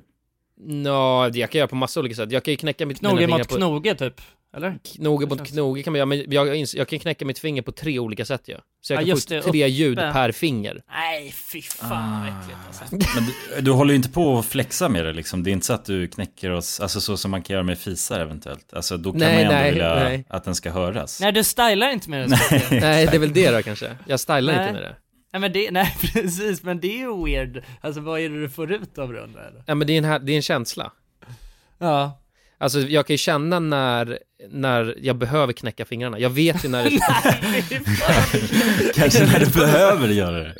Speaker 1: Nå, det jag kan göra på massa olika sätt. Jag kan ju knäcka mitt mina
Speaker 2: Knoge
Speaker 1: fingrar
Speaker 2: mot
Speaker 1: på...
Speaker 2: knoge typ, eller?
Speaker 1: Knoge mot
Speaker 2: Känns-
Speaker 1: knoge kan man göra, men jag, jag, ins- jag kan knäcka mitt finger på tre olika sätt ja. Så jag
Speaker 2: Ja,
Speaker 1: kan
Speaker 2: just
Speaker 1: få ut
Speaker 2: det,
Speaker 1: tre ljud
Speaker 2: uppe.
Speaker 1: per finger.
Speaker 2: Nej, fy fan vad
Speaker 1: Ah.
Speaker 2: äckligt alltså.
Speaker 3: Men du, du håller ju inte på att flexa med det liksom. Det är inte så att du knäcker oss, alltså så som man kan göra med fisar eventuellt. Alltså då kan
Speaker 1: Nej,
Speaker 3: man ju ändå
Speaker 1: nej,
Speaker 3: vilja
Speaker 1: nej.
Speaker 3: att den ska höras.
Speaker 2: Nej, du stylar inte med det så mycket.
Speaker 1: Nej, det är väl det då kanske. Jag stylar
Speaker 2: Nej.
Speaker 1: inte med det.
Speaker 2: Nej men det, nej precis, men det är ju weird. Alltså vad är det du får ut av det undrar jag?
Speaker 1: Ja, men det är en, här, det är en känsla.
Speaker 2: Ja.
Speaker 1: Alltså jag kan ju känna när, när jag behöver knäcka fingrarna. Jag vet ju när det...
Speaker 3: Kanske när du behöver göra det.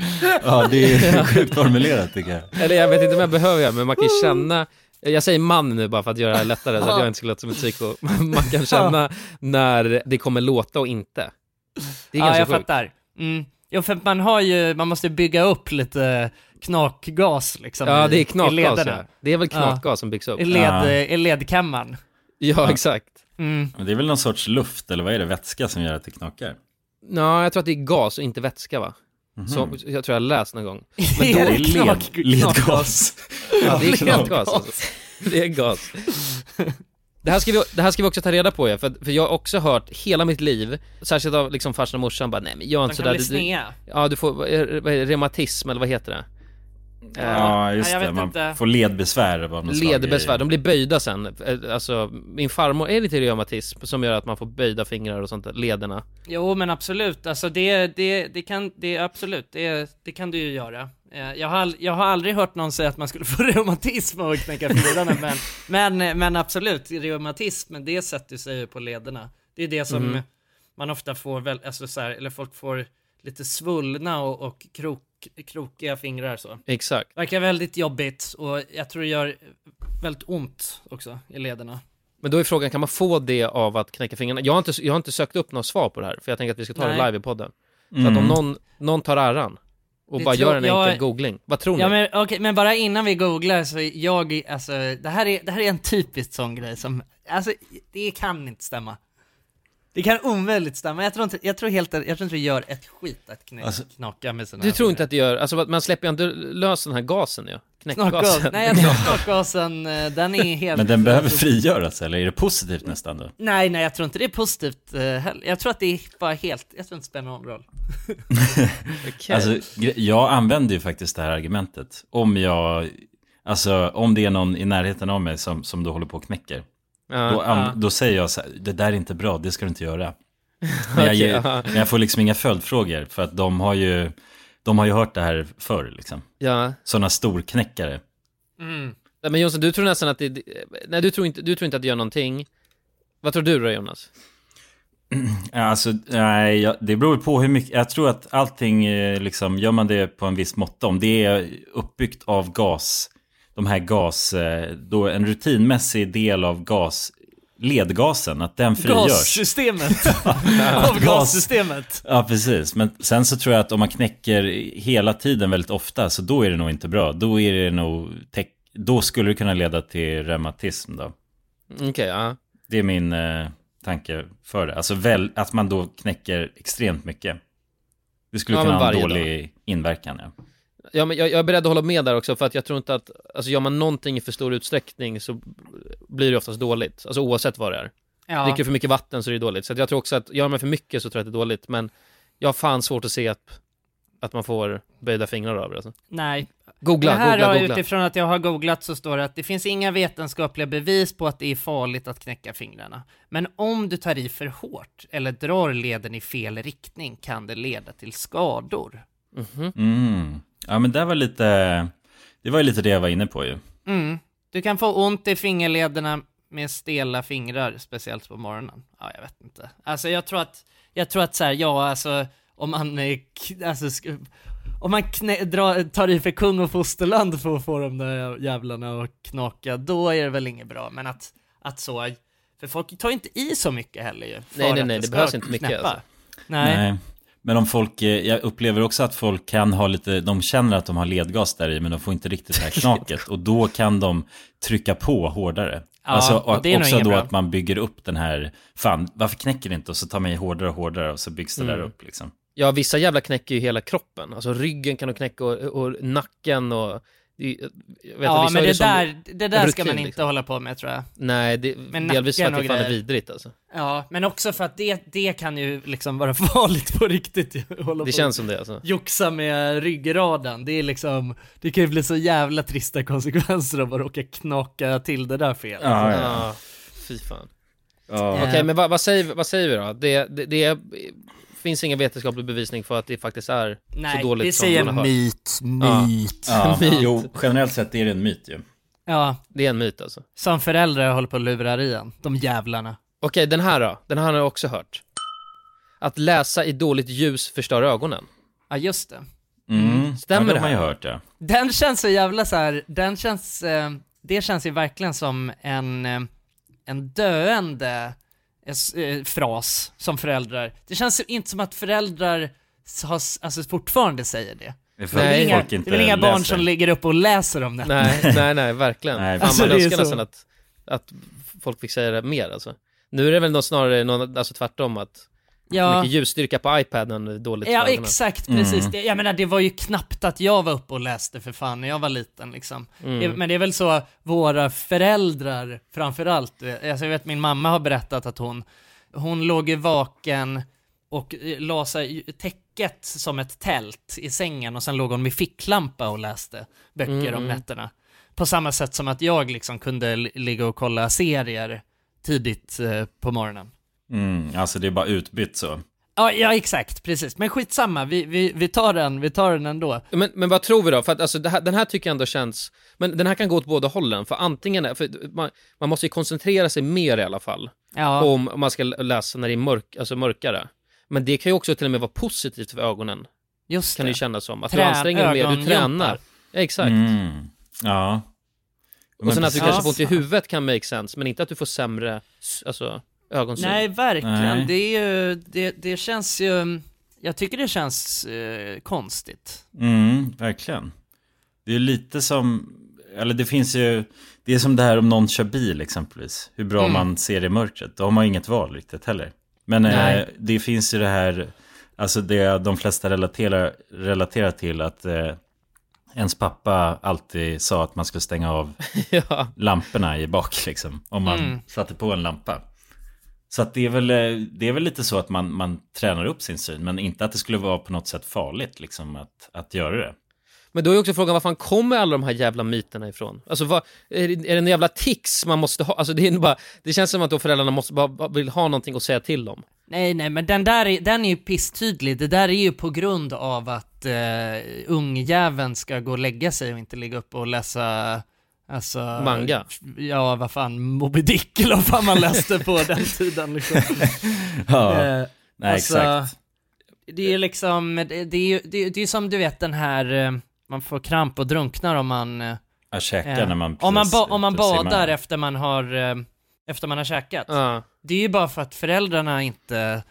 Speaker 3: Ja, det är sjukt formulerat tycker jag.
Speaker 1: Eller jag vet inte om jag behöver göra, men man kan
Speaker 2: Mm.
Speaker 1: ju känna jag säger man nu bara för att göra det här lättare, så att jag inte ska låta som ett psyko. Man kan känna när det kommer låta och inte. Det är
Speaker 2: ja,
Speaker 1: ganska
Speaker 2: jag
Speaker 1: sjukt.
Speaker 2: fattar. Mm. Jo för man har ju, man måste bygga upp lite knakgas liksom
Speaker 1: Ja,
Speaker 2: i-
Speaker 1: det är
Speaker 2: i
Speaker 1: knakgas.
Speaker 2: lederna.
Speaker 1: Ja. Det är väl knakgas som byggs upp.
Speaker 2: I, led,
Speaker 3: Ja.
Speaker 2: I ledkammaren.
Speaker 1: Ja, exakt.
Speaker 2: Mm.
Speaker 3: Men det är väl någon sorts luft, eller vad är det, vätska som gör att det knakar?
Speaker 1: Nej, jag tror att det är gas och inte vätska va? Så, jag tror jag läst någon gång.
Speaker 2: Men
Speaker 3: Det är led, ledgas.
Speaker 1: Ja, det är knakgas alltså. Det är gas. Det här, ska vi, det här ska vi också ta reda på ja, för, för jag har också hört hela mitt liv, särskilt av liksom farsan och morsan bara, nej men gör
Speaker 2: De
Speaker 1: inte
Speaker 2: kan
Speaker 1: sådär.
Speaker 2: bli
Speaker 1: Du, du,
Speaker 2: snea.
Speaker 1: ja, du får, vad är det, reumatism eller vad heter det? Eh,
Speaker 3: Ja, just
Speaker 2: Ja, jag
Speaker 3: det.
Speaker 2: vet
Speaker 3: Man
Speaker 2: inte.
Speaker 3: får ledbesvär av något slag i-
Speaker 1: Ledbesvär, de blir böjda sen. Eh, Alltså, min farmor är lite reumatism som gör att man får böjda fingrar och sånt där, lederna.
Speaker 2: Jo men absolut, alltså det, det, det kan, det absolut, det, det kan du ju göra. Eh, Jag har, all- jag har aldrig hört någon säga att man skulle få reumatism av att knäcka fingrarna, men, men, men absolut, reumatism, men det sätter sig ju på lederna. Det är det som
Speaker 1: Mm.
Speaker 2: man ofta får, väl, alltså så här, eller folk får lite svullna och, och krok, krokiga fingrar så.
Speaker 1: Exakt.
Speaker 2: Verkar väldigt jobbigt och jag tror det gör väldigt ont också i lederna.
Speaker 1: Men då är frågan, kan man få det av att knäcka fingrarna? Jag har inte, jag har inte sökt upp något svar på det här, för jag tänker att vi ska ta
Speaker 2: Nej.
Speaker 1: det live i podden. Så
Speaker 3: Mm.
Speaker 1: att om någon, någon tar äran och
Speaker 2: Det
Speaker 1: bara
Speaker 2: tror-
Speaker 1: gör en
Speaker 2: jag-
Speaker 1: enkel googling, vad tror ni?
Speaker 2: Ja men okej, men bara innan vi googlar så jag, alltså det här är, det här är en typisk sån grej som, alltså det kan inte stämma. Det kan omöjligt stämma, jag tror inte, jag tror helt, jag tror inte det gör ett skit att knä,
Speaker 3: Alltså,
Speaker 2: knaka med sina
Speaker 1: Du tror inte att det gör, alltså vad- man släpper ju ändå lös den här gasen ju,
Speaker 2: Knakgas,
Speaker 1: knäckgasen.
Speaker 2: nej jag tror knakgasen, eh, den är helt...
Speaker 3: Men den behöver frigöras, eller är det positivt nästan då?
Speaker 2: Nej, nej jag tror inte det är positivt eh, heller. Jag tror att det är bara helt, jag tror inte det spelar någon roll.
Speaker 1: Okej.
Speaker 3: Alltså, gre- jag använder ju faktiskt det här argumentet. Om jag, alltså om det är någon i närheten av mig som, som då håller på och knäcker.
Speaker 1: Ja,
Speaker 3: Då, an-
Speaker 1: ja.
Speaker 3: då säger jag så här, det där är inte bra, det ska du inte göra. Men jag,
Speaker 1: Okej,
Speaker 3: ger,
Speaker 1: aha.
Speaker 3: men jag får liksom inga följdfrågor, för att de har ju, de har ju hört det här förr liksom.
Speaker 1: ja.
Speaker 3: Sådana storknäckare.
Speaker 1: Nej, Men Jonsson, du tror nästan att det, nej du tror inte, du tror inte att det gör någonting. Vad tror du då Jonas?
Speaker 3: Ja, Alltså, nej, jag, det beror på hur mycket. Jag tror att allting, eh, liksom, gör man det på en viss måtta, om det är uppbyggt av gas, de här gas, eh, då en rutinmässig del av gas, ledgasen, att den frigörs.
Speaker 2: Gassystemet! Av gassystemet!
Speaker 3: Ja, precis. Men sen så tror jag att om man knäcker hela tiden väldigt ofta, så då är det nog inte bra. Då är det nog, teck- då skulle det kunna leda till reumatism då.
Speaker 1: Mm, Okej, ja.
Speaker 3: Det är min eh, tanke för det. Alltså väl, att man då knäcker extremt mycket. Det skulle
Speaker 1: Ja,
Speaker 3: kunna
Speaker 1: men
Speaker 3: ha en
Speaker 1: varje
Speaker 3: dålig inverkan. Ja.
Speaker 1: ja men jag, jag är beredd att hålla med där också för att jag tror inte att, alltså gör man någonting i för stor utsträckning så blir det oftast dåligt, alltså oavsett vad det är.
Speaker 2: Ja.
Speaker 1: Dricker du för mycket vatten så är det dåligt. Så att jag tror också att, gör man för mycket så tror jag att det är dåligt, men jag har fan svårt att se att, att man får böjda fingrar av det alltså.
Speaker 2: Nej,
Speaker 1: Googla,
Speaker 2: det här
Speaker 1: googla,
Speaker 2: har
Speaker 1: googla.
Speaker 2: utifrån att jag har googlat så står det att det finns inga vetenskapliga bevis på att det är farligt att knäcka fingrarna. Men om du tar i för hårt eller drar leden i fel riktning kan det leda till skador.
Speaker 3: Mm. ja, men det var lite... Det var ju lite det jag var inne på ju.
Speaker 2: Mm. Du kan få ont i fingerlederna med stela fingrar, speciellt på morgonen. Ja, jag vet inte. Alltså jag tror att, jag tror att så här, ja alltså om man, eh, k- alltså, sk- om man knä, dra, tar i för kung och fosterland för att få de där jävlarna att knaka, då är det väl inget bra. Men att, att så, för folk tar ju inte i så mycket heller ju. för
Speaker 1: Nej, nej,
Speaker 2: att
Speaker 1: nej, det
Speaker 2: ska
Speaker 1: behövs inte mycket,
Speaker 2: knäppa.
Speaker 1: alltså.
Speaker 2: Nej.
Speaker 3: Men om folk, eh, jag upplever också att folk kan ha lite, de känner att de har ledgas där i men de får inte riktigt det här knaket och då kan de trycka på hårdare.
Speaker 2: Ja,
Speaker 3: alltså och
Speaker 2: och det är nog
Speaker 3: också
Speaker 2: inget
Speaker 3: då
Speaker 2: bra.
Speaker 3: att man bygger upp den här, fan varför knäcker det inte? Och så tar man i hårdare och hårdare och så byggs det
Speaker 2: Mm.
Speaker 3: där upp liksom.
Speaker 1: Ja, vissa jävla knäcker ju hela kroppen. Alltså ryggen kan de knäcka och, och nacken och... Jag vet, att vissa
Speaker 2: Ja, men
Speaker 1: har
Speaker 2: det
Speaker 1: som-
Speaker 2: där, det där ska
Speaker 1: rutin,
Speaker 2: man inte
Speaker 1: liksom.
Speaker 2: hålla på med tror jag.
Speaker 1: Nej, det,
Speaker 2: Men
Speaker 1: delvis för
Speaker 2: nacken
Speaker 1: att det
Speaker 2: och
Speaker 1: fan är
Speaker 2: grejer.
Speaker 1: vidrigt alltså.
Speaker 2: Ja, men också för att det, det kan ju liksom vara farligt på riktigt ju. Hålla
Speaker 1: Det
Speaker 2: på
Speaker 1: känns som det alltså.
Speaker 2: och joxa med ryggraden. Det är liksom, det kan ju bli så jävla trista konsekvenser av att råka knaka till det där fel.
Speaker 3: Ja, ja.
Speaker 1: Ah, fy fan.
Speaker 3: Ja.
Speaker 1: Okej, men vad, vad, säger, vad säger vi då? Det, det, det är, finns ingen vetenskaplig bevisning för att det faktiskt är
Speaker 2: Nej,
Speaker 1: så dåligt
Speaker 2: vi
Speaker 1: som
Speaker 2: säger
Speaker 1: man har hört.
Speaker 2: myt, myt. Ja.
Speaker 3: Ja,
Speaker 1: Myt.
Speaker 3: jo, generellt sett är det en myt ju. Mm.
Speaker 1: Det är en myt alltså.
Speaker 2: som föräldrar håller på och lurar i en, de jävlarna.
Speaker 1: Okej, den här då? Den här har jag också hört. Att läsa i dåligt ljus förstör ögonen.
Speaker 2: Ja, just det.
Speaker 3: Mm.
Speaker 1: Stämmer
Speaker 3: ja,
Speaker 1: det
Speaker 3: det har man ju
Speaker 1: här?
Speaker 3: hört ja.
Speaker 2: Den känns så jävla så här, den känns, eh, det känns ju verkligen som en, eh, en döende eh, s- eh, fras som föräldrar. Det känns inte som att föräldrar s- har, s- alltså fortfarande säger det.
Speaker 3: Det är för
Speaker 2: Det är
Speaker 1: Nej,
Speaker 2: väl
Speaker 3: att
Speaker 2: inga,
Speaker 3: folk
Speaker 2: det
Speaker 3: inte
Speaker 2: är väl inga barn
Speaker 3: läser.
Speaker 2: som ligger upp och läser om det.
Speaker 1: Nej, nej, nej, verkligen.
Speaker 3: Nej,
Speaker 1: Fan,
Speaker 2: alltså,
Speaker 1: man
Speaker 2: det är
Speaker 1: önskar
Speaker 2: så.
Speaker 1: nästan att, att folk fick säga det mer alltså. Nu är det väl något snarare någon, alltså tvärtom att
Speaker 2: Ja,
Speaker 1: mycket ljusstyrka på iPaden är dåligt
Speaker 2: ja
Speaker 1: för ögonen.
Speaker 2: exakt, precis. Det, jag menar, det var ju knappt att jag var uppe och läste för fan när jag var liten liksom. Det, men det är väl så våra föräldrar framförallt, alltså jag vet min mamma har berättat att hon, hon låg ju vaken och eh, la sig i täcket som ett tält i sängen och sen låg hon med ficklampa och läste böcker
Speaker 1: Mm,
Speaker 2: om
Speaker 1: mm.
Speaker 2: nätterna. På samma sätt som att jag liksom kunde l- ligga och kolla serier tidigt eh, på morgonen.
Speaker 3: Mm, alltså det är bara utbytt så.
Speaker 2: Ja, ja exakt, precis. Men skitsamma, vi, vi, vi tar den, vi tar den ändå.
Speaker 1: Men, men vad tror vi då? För att alltså, det här, den här tycker jag ändå känns... Men den här kan gå åt båda hållen, för antingen... är- För man, man måste ju koncentrera sig mer i alla fall,
Speaker 2: Ja,
Speaker 1: om, om man ska läsa när det är mörk, alltså mörkare. Men det kan ju också till och med vara positivt för ögonen,
Speaker 2: just
Speaker 1: kan det
Speaker 2: det.
Speaker 1: ju kännas som. Att du
Speaker 2: Trä-
Speaker 1: anstränger dig mer, du
Speaker 2: ögonjumpar.
Speaker 1: tränar. Ja, exakt.
Speaker 3: Mm. Ja.
Speaker 1: Och sen att du kanske
Speaker 3: precis.
Speaker 1: får ont i huvudet kan make sense, men inte att du får sämre s- alltså, ögonsyn.
Speaker 2: Nej, verkligen.
Speaker 3: Nej.
Speaker 2: Det, är ju, det, det känns ju... Jag tycker det känns eh, konstigt.
Speaker 3: Mm, verkligen. Det är lite som, eller det finns ju, det är som det här om någon kör bil exempelvis. Hur bra
Speaker 2: Mm.
Speaker 3: man ser i mörkret. Då har man ju inget val riktigt heller. Men eh,
Speaker 2: Nej.
Speaker 3: det finns ju det här, alltså det de flesta relaterar, relaterar till att eh, ens pappa alltid sa att man skulle stänga av
Speaker 1: ja.
Speaker 3: lamporna i bak liksom. Om man
Speaker 2: Mm.
Speaker 3: satte på en lampa. Så att det, är väl, eh, det är väl lite så att man, man tränar upp sin syn, men inte att det skulle vara på något sätt farligt liksom, att, att göra det.
Speaker 1: Men då är också frågan, var fan kommer alla de här jävla myterna ifrån? Alltså, vad, är, det, är det en jävla tics man måste ha? Alltså, det, är bara, det känns som att då föräldrarna måste bara, bara vill ha någonting att säga till om.
Speaker 2: Nej, nej, men den där är, den är ju pisstydlig. Det där är ju på grund av att eh, ungjäveln ska gå och lägga sig och inte ligga upp och läsa... Alltså,
Speaker 1: Manga.
Speaker 2: Ja, vad fan, Moby Dick eller vad fan man läste på den tiden liksom.
Speaker 3: Ja,
Speaker 2: Eh,
Speaker 3: nej
Speaker 2: alltså,
Speaker 3: exakt.
Speaker 2: Det är liksom, det, det är ju det, är- det är som du vet den här, eh, man får kramp och drunknar om man... eh,
Speaker 3: Att käka
Speaker 2: eh,
Speaker 3: när man
Speaker 2: om man,
Speaker 3: precis
Speaker 2: ba- om man
Speaker 3: ute simmar.
Speaker 2: badar efter man har, eh, efter man har käkat.
Speaker 1: Ja.
Speaker 2: Det är ju bara för att föräldrarna inte,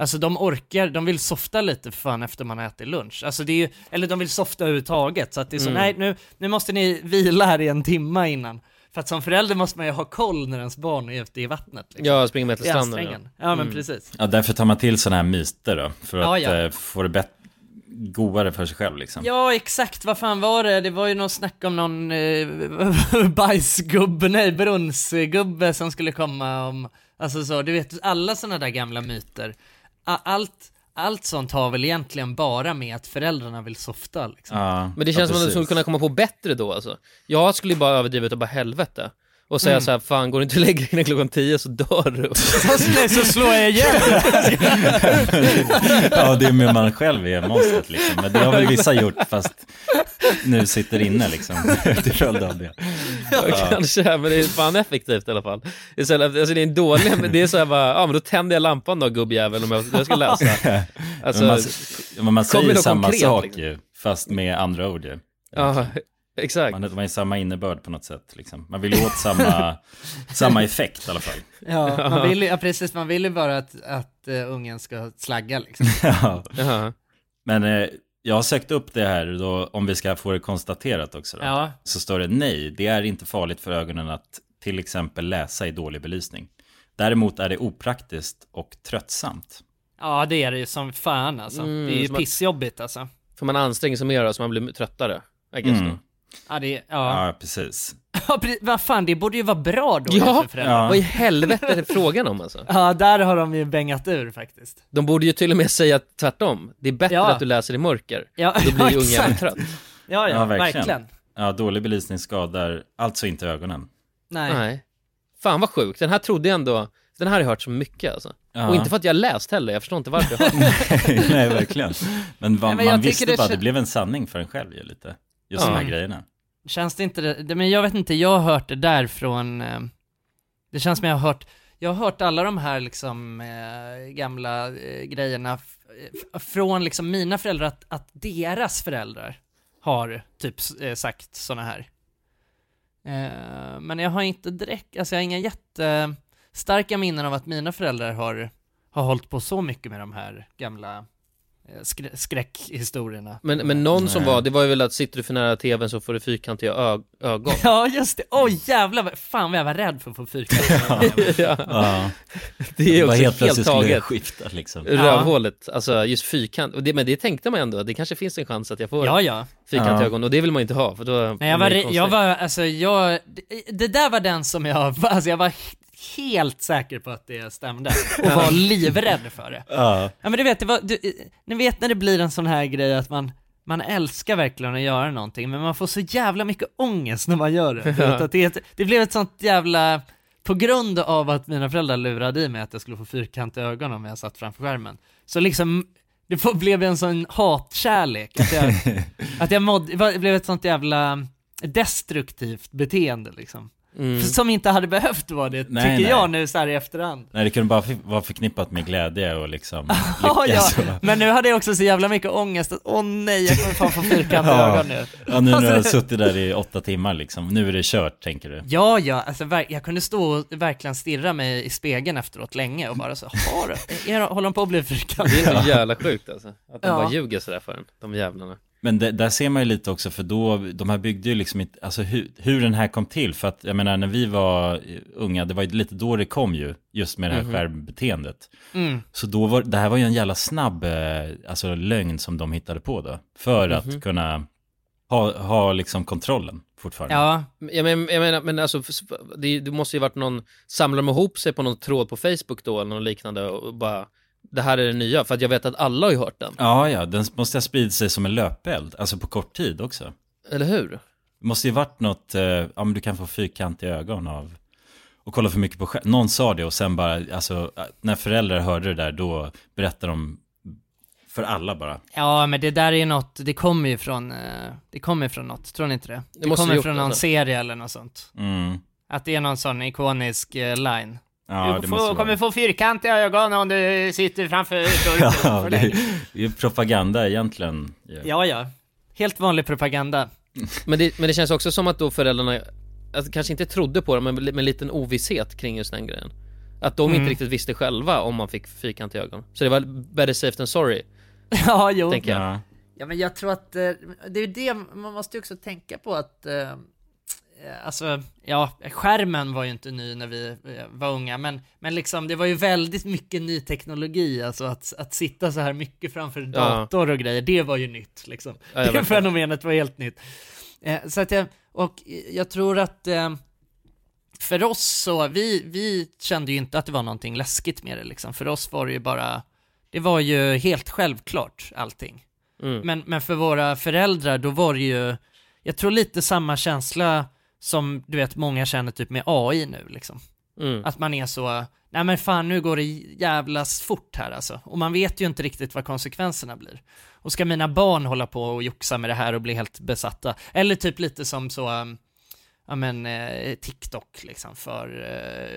Speaker 2: alltså de orkar, de vill softa lite för fan efter man har ätit lunch. Alltså det är ju, eller de vill softa överhuvudtaget. Så att det är så,
Speaker 3: Mm.
Speaker 2: nej nu, nu måste ni vila här i en timma innan. För att som förälder måste man ju ha koll när ens barn är ute i vattnet. Liksom.
Speaker 1: Jag springer med till
Speaker 2: I
Speaker 1: stranden.
Speaker 2: ansträngen.
Speaker 1: Ja.
Speaker 2: Ja,
Speaker 3: Mm.
Speaker 2: men precis.
Speaker 3: Ja, därför tar man till sådana här myter då, för
Speaker 2: Ja,
Speaker 3: att
Speaker 2: ja.
Speaker 3: eh, få det bättre, godare för sig själv liksom.
Speaker 2: Ja exakt, vad fan var det? Det var ju någon snack om någon eh, bajsgubbe, nej brunnsgubbe som skulle komma om, alltså så, du vet alla sådana där gamla myter. A- Allt, allt sånt har väl egentligen bara med att föräldrarna vill softa liksom.
Speaker 3: Ja,
Speaker 1: Men det känns
Speaker 3: ja,
Speaker 1: som att du
Speaker 3: precis.
Speaker 1: skulle kunna komma på bättre då. Alltså. Jag skulle ju bara överdriva och bara helvete. Och säga så här, fan går du inte och lägger dig innan klockan tio så dör du.
Speaker 2: Nej så slår jag igen!
Speaker 3: Ja, det är med man själv är monstret liksom. Men det har väl vissa gjort, fast nu sitter inne liksom. Till följd av det.
Speaker 1: Ja, kanske, men det är fan effektivt i alla fall. Istället, alltså det är en dålig, men det är så här bara, ja men då tänder jag lampan då gubbjävel om jag, jag ska läsa. Alltså,
Speaker 3: men man, men
Speaker 1: kommer
Speaker 3: man säger
Speaker 1: något
Speaker 3: samma
Speaker 1: konkret,
Speaker 3: sak
Speaker 1: liksom.
Speaker 3: ju, fast med andra ord ju.
Speaker 1: ja, exakt.
Speaker 3: Man, man har ju samma innebörd på något sätt liksom. Man vill ju åt samma, samma effekt i alla fall.
Speaker 2: Ja, man vill, ju- ja precis, man vill ju bara att, att eh, ungen ska slagga liksom.
Speaker 3: Ja.
Speaker 1: Jaha.
Speaker 3: Men eh, jag har sökt upp det här då, om vi ska få det konstaterat också då.
Speaker 2: Ja.
Speaker 3: Så står det nej, det är inte farligt för ögonen att till exempel läsa i dålig belysning. Däremot är det opraktiskt och tröttsamt.
Speaker 2: Ja det är det ju som fan alltså.
Speaker 1: Mm,
Speaker 2: det är ju
Speaker 1: som att-
Speaker 2: pissjobbigt alltså.
Speaker 1: För man anstränger sig mer så man blir tröttare. I guess
Speaker 3: Mm.
Speaker 1: då.
Speaker 2: Ja det är, ja.
Speaker 3: Ja, precis.
Speaker 2: ja. pre- vad fan det borde ju vara bra då
Speaker 1: Ja.
Speaker 2: för föräldrar.
Speaker 3: Ja.
Speaker 1: Vad i helvete är det frågan om alltså?
Speaker 2: Ja, där har de ju bängat ur faktiskt.
Speaker 1: De borde ju till och med säga tvärtom. Det är bättre
Speaker 2: Ja.
Speaker 1: att du läser i mörker.
Speaker 2: Ja,
Speaker 1: Då blir
Speaker 2: ja,
Speaker 1: ju ungen
Speaker 2: exakt.
Speaker 1: trött.
Speaker 2: Ja, ja,
Speaker 3: Ja, verkligen.
Speaker 2: verkligen.
Speaker 3: Ja, dålig belysning skadar alltså inte ögonen.
Speaker 2: Nej.
Speaker 1: Nej. Fan vad sjukt. Den här trodde jag ändå, den här har jag hört så mycket alltså.
Speaker 3: Ja.
Speaker 1: Och inte för att jag läst heller, jag förstår inte varför jag har hört
Speaker 3: Nej, verkligen. Men, va,
Speaker 2: Nej, men jag
Speaker 3: man
Speaker 2: tycker
Speaker 3: visste
Speaker 2: det
Speaker 3: bara att
Speaker 2: kän-
Speaker 3: det blev en sanning för en själv ju lite. Just
Speaker 1: Ja.
Speaker 3: de här grejerna.
Speaker 2: Känns det inte det, det- men jag vet inte, jag har hört det där från, eh, det känns som jag har hört, jag har hört alla de här liksom eh, gamla eh, grejerna f- f- från liksom mina föräldrar, att, att deras föräldrar har typ s- eh, sagt sådana här. Eh, men jag har inte direkt, alltså jag har inga jättestarka minnen av att mina föräldrar har, har hållit på så mycket med de här gamla eh, skrä- skräckhistorierna.
Speaker 1: Men, men någon som
Speaker 3: Nej.
Speaker 1: var, det var ju väl att sitter du för nära tvn så får du fyrkantiga ö- ögon.
Speaker 2: Ja, just det. Åh oh, jävlar, vad- fan vad jag var rädd för att få fyrkantiga
Speaker 1: ja,
Speaker 3: Ja,
Speaker 1: det är
Speaker 3: bara
Speaker 1: också
Speaker 3: helt
Speaker 1: helt,
Speaker 3: plötsligt skulle det
Speaker 1: taget.
Speaker 3: skifta liksom.
Speaker 1: Rövhålet, alltså just fyrkant. Och det, men det tänkte man ändå, det kanske finns en chans att jag får
Speaker 2: Ja, ja.
Speaker 1: fyrkantiga
Speaker 3: Ja.
Speaker 1: ögon och det vill man ju inte ha för då...
Speaker 2: Nej, jag var, re- jag var, alltså jag, det, det där var den som jag, alltså jag var he- helt säker på att det stämde och var livrädd för det.
Speaker 5: Ja.
Speaker 2: Ja men du vet, det var, du, ni vet när det blir en sån här grej att man, man älskar verkligen att göra någonting men man får så jävla mycket ångest när man gör det. Du vet, att det, är ett, det blev ett sånt jävla, på grund av att mina föräldrar lurade i mig att jag skulle få fyrkantiga ögon om jag satt framför skärmen. Så liksom, det får- blev en sån hatkärlek. Att jag, att jag mådde, det var- det blev ett sånt jävla destruktivt beteende liksom.
Speaker 1: Mm.
Speaker 2: Som inte hade behövt vara det,
Speaker 3: Nej,
Speaker 2: tycker
Speaker 3: nej.
Speaker 2: jag nu så här i efterhand.
Speaker 3: Nej, det kunde bara f- vara förknippat med glädje och liksom lycka.
Speaker 2: Ja, ja.
Speaker 3: så.
Speaker 2: Men nu hade jag också så jävla mycket ångest att åh nej, jag kommer fan få fyrkantiga
Speaker 3: Ja.
Speaker 2: ögon nu.
Speaker 3: Ja, nu när jag har
Speaker 2: Alltså-
Speaker 3: suttit där i åtta timmar liksom. Nu är det kört, tänker du.
Speaker 2: Ja, ja, alltså ver- jag kunde stå och verkligen stirra mig i spegeln efteråt länge och bara så, har du, är, håller de på att bli
Speaker 1: Det
Speaker 2: fyrkantig?
Speaker 1: är så jävla sjukt alltså. Att de
Speaker 2: Ja.
Speaker 1: bara ljuger sådär för en, de jävlarna.
Speaker 3: Men det, där ser man ju lite också, för då, de här byggde ju liksom inte, alltså hur, hur den här kom till, för att jag menar när vi var eh, unga, det var ju lite då det kom ju, just med det här skärmbeteendet.
Speaker 2: Mhm. Mm.
Speaker 3: Så då var, det här var ju en jävla snabb, eh, alltså lögn som de hittade på då, för
Speaker 2: Mhm.
Speaker 3: att kunna ha, ha liksom kontrollen fortfarande.
Speaker 2: Ja,
Speaker 1: Jag, men, jag menar, men alltså, för- det, det måste ju varit någon, samlar de ihop sig på någon tråd på Facebook då eller något liknande och bara, det här är det nya, för att jag vet att alla har ju hört den,
Speaker 3: Ja, ja, den måste ha spridit sig som en löpeld, alltså på kort tid också.
Speaker 1: eller hur?
Speaker 3: Det måste ju varit något, eh, ja men du kan få fyrkantiga ögon av och kolla för mycket på skärm. Någon sa det och sen bara, alltså eh, när föräldrar hörde det där då berättade de för alla bara.
Speaker 2: ja, men det där är ju något, det kommer ju från, eh, det kommer ju från något, tror ni inte det? Det,
Speaker 1: måste
Speaker 2: kommer
Speaker 1: ju
Speaker 2: från
Speaker 1: gjort
Speaker 2: någon
Speaker 3: alltså.
Speaker 1: det.
Speaker 2: serie eller något sånt.
Speaker 3: Mm.
Speaker 2: Att det är någon sån ikonisk eh, line.
Speaker 3: Ja,
Speaker 2: du
Speaker 3: det
Speaker 2: får,
Speaker 3: måste
Speaker 2: kommer
Speaker 3: vara.
Speaker 2: få fyrkantiga ögon om du sitter framför dörren
Speaker 3: Ja,
Speaker 2: för
Speaker 3: det är
Speaker 2: länge.
Speaker 3: det är ju propaganda egentligen. ju.
Speaker 2: Ja, ja. Helt vanlig propaganda.
Speaker 1: Men det, men det känns också som att då föräldrarna, alltså, kanske inte trodde på det, men med en liten ovisshet kring just den grejen. Att de
Speaker 3: Mm.
Speaker 1: inte riktigt visste själva om man fick fyrkant i ögon. Så det var better safe than sorry,
Speaker 2: ja, jo.
Speaker 1: tänker jag.
Speaker 3: Ja.
Speaker 2: Ja, men jag tror att eh, det är det man måste ju också tänka på att eh, eh, Alltså, ja, skärmen var ju inte ny när vi eh, var unga, men, men liksom det var ju väldigt mycket ny teknologi, alltså att, att sitta så här mycket framför dator och grejer, det var ju nytt liksom.
Speaker 1: Ja, ja,
Speaker 2: det
Speaker 1: verkligen.
Speaker 2: fenomenet var helt nytt. Eh, så att jag, och eh, jag tror att eh, för oss så, vi, vi kände ju inte att det var någonting läskigt med det liksom, för oss var det ju bara, det var ju helt självklart allting.
Speaker 1: Mm.
Speaker 2: Men, men för våra föräldrar, då var det ju, jag tror lite samma känsla som du vet många känner typ med AI nu liksom.
Speaker 1: Mm.
Speaker 2: Att man är så, nej men fan nu går det jävlas fort här alltså. Och man vet ju inte riktigt vad konsekvenserna blir. Och ska mina barn hålla på och joxa med det här och bli helt besatta? Eller typ lite som så, um, ja men eh, TikTok liksom för,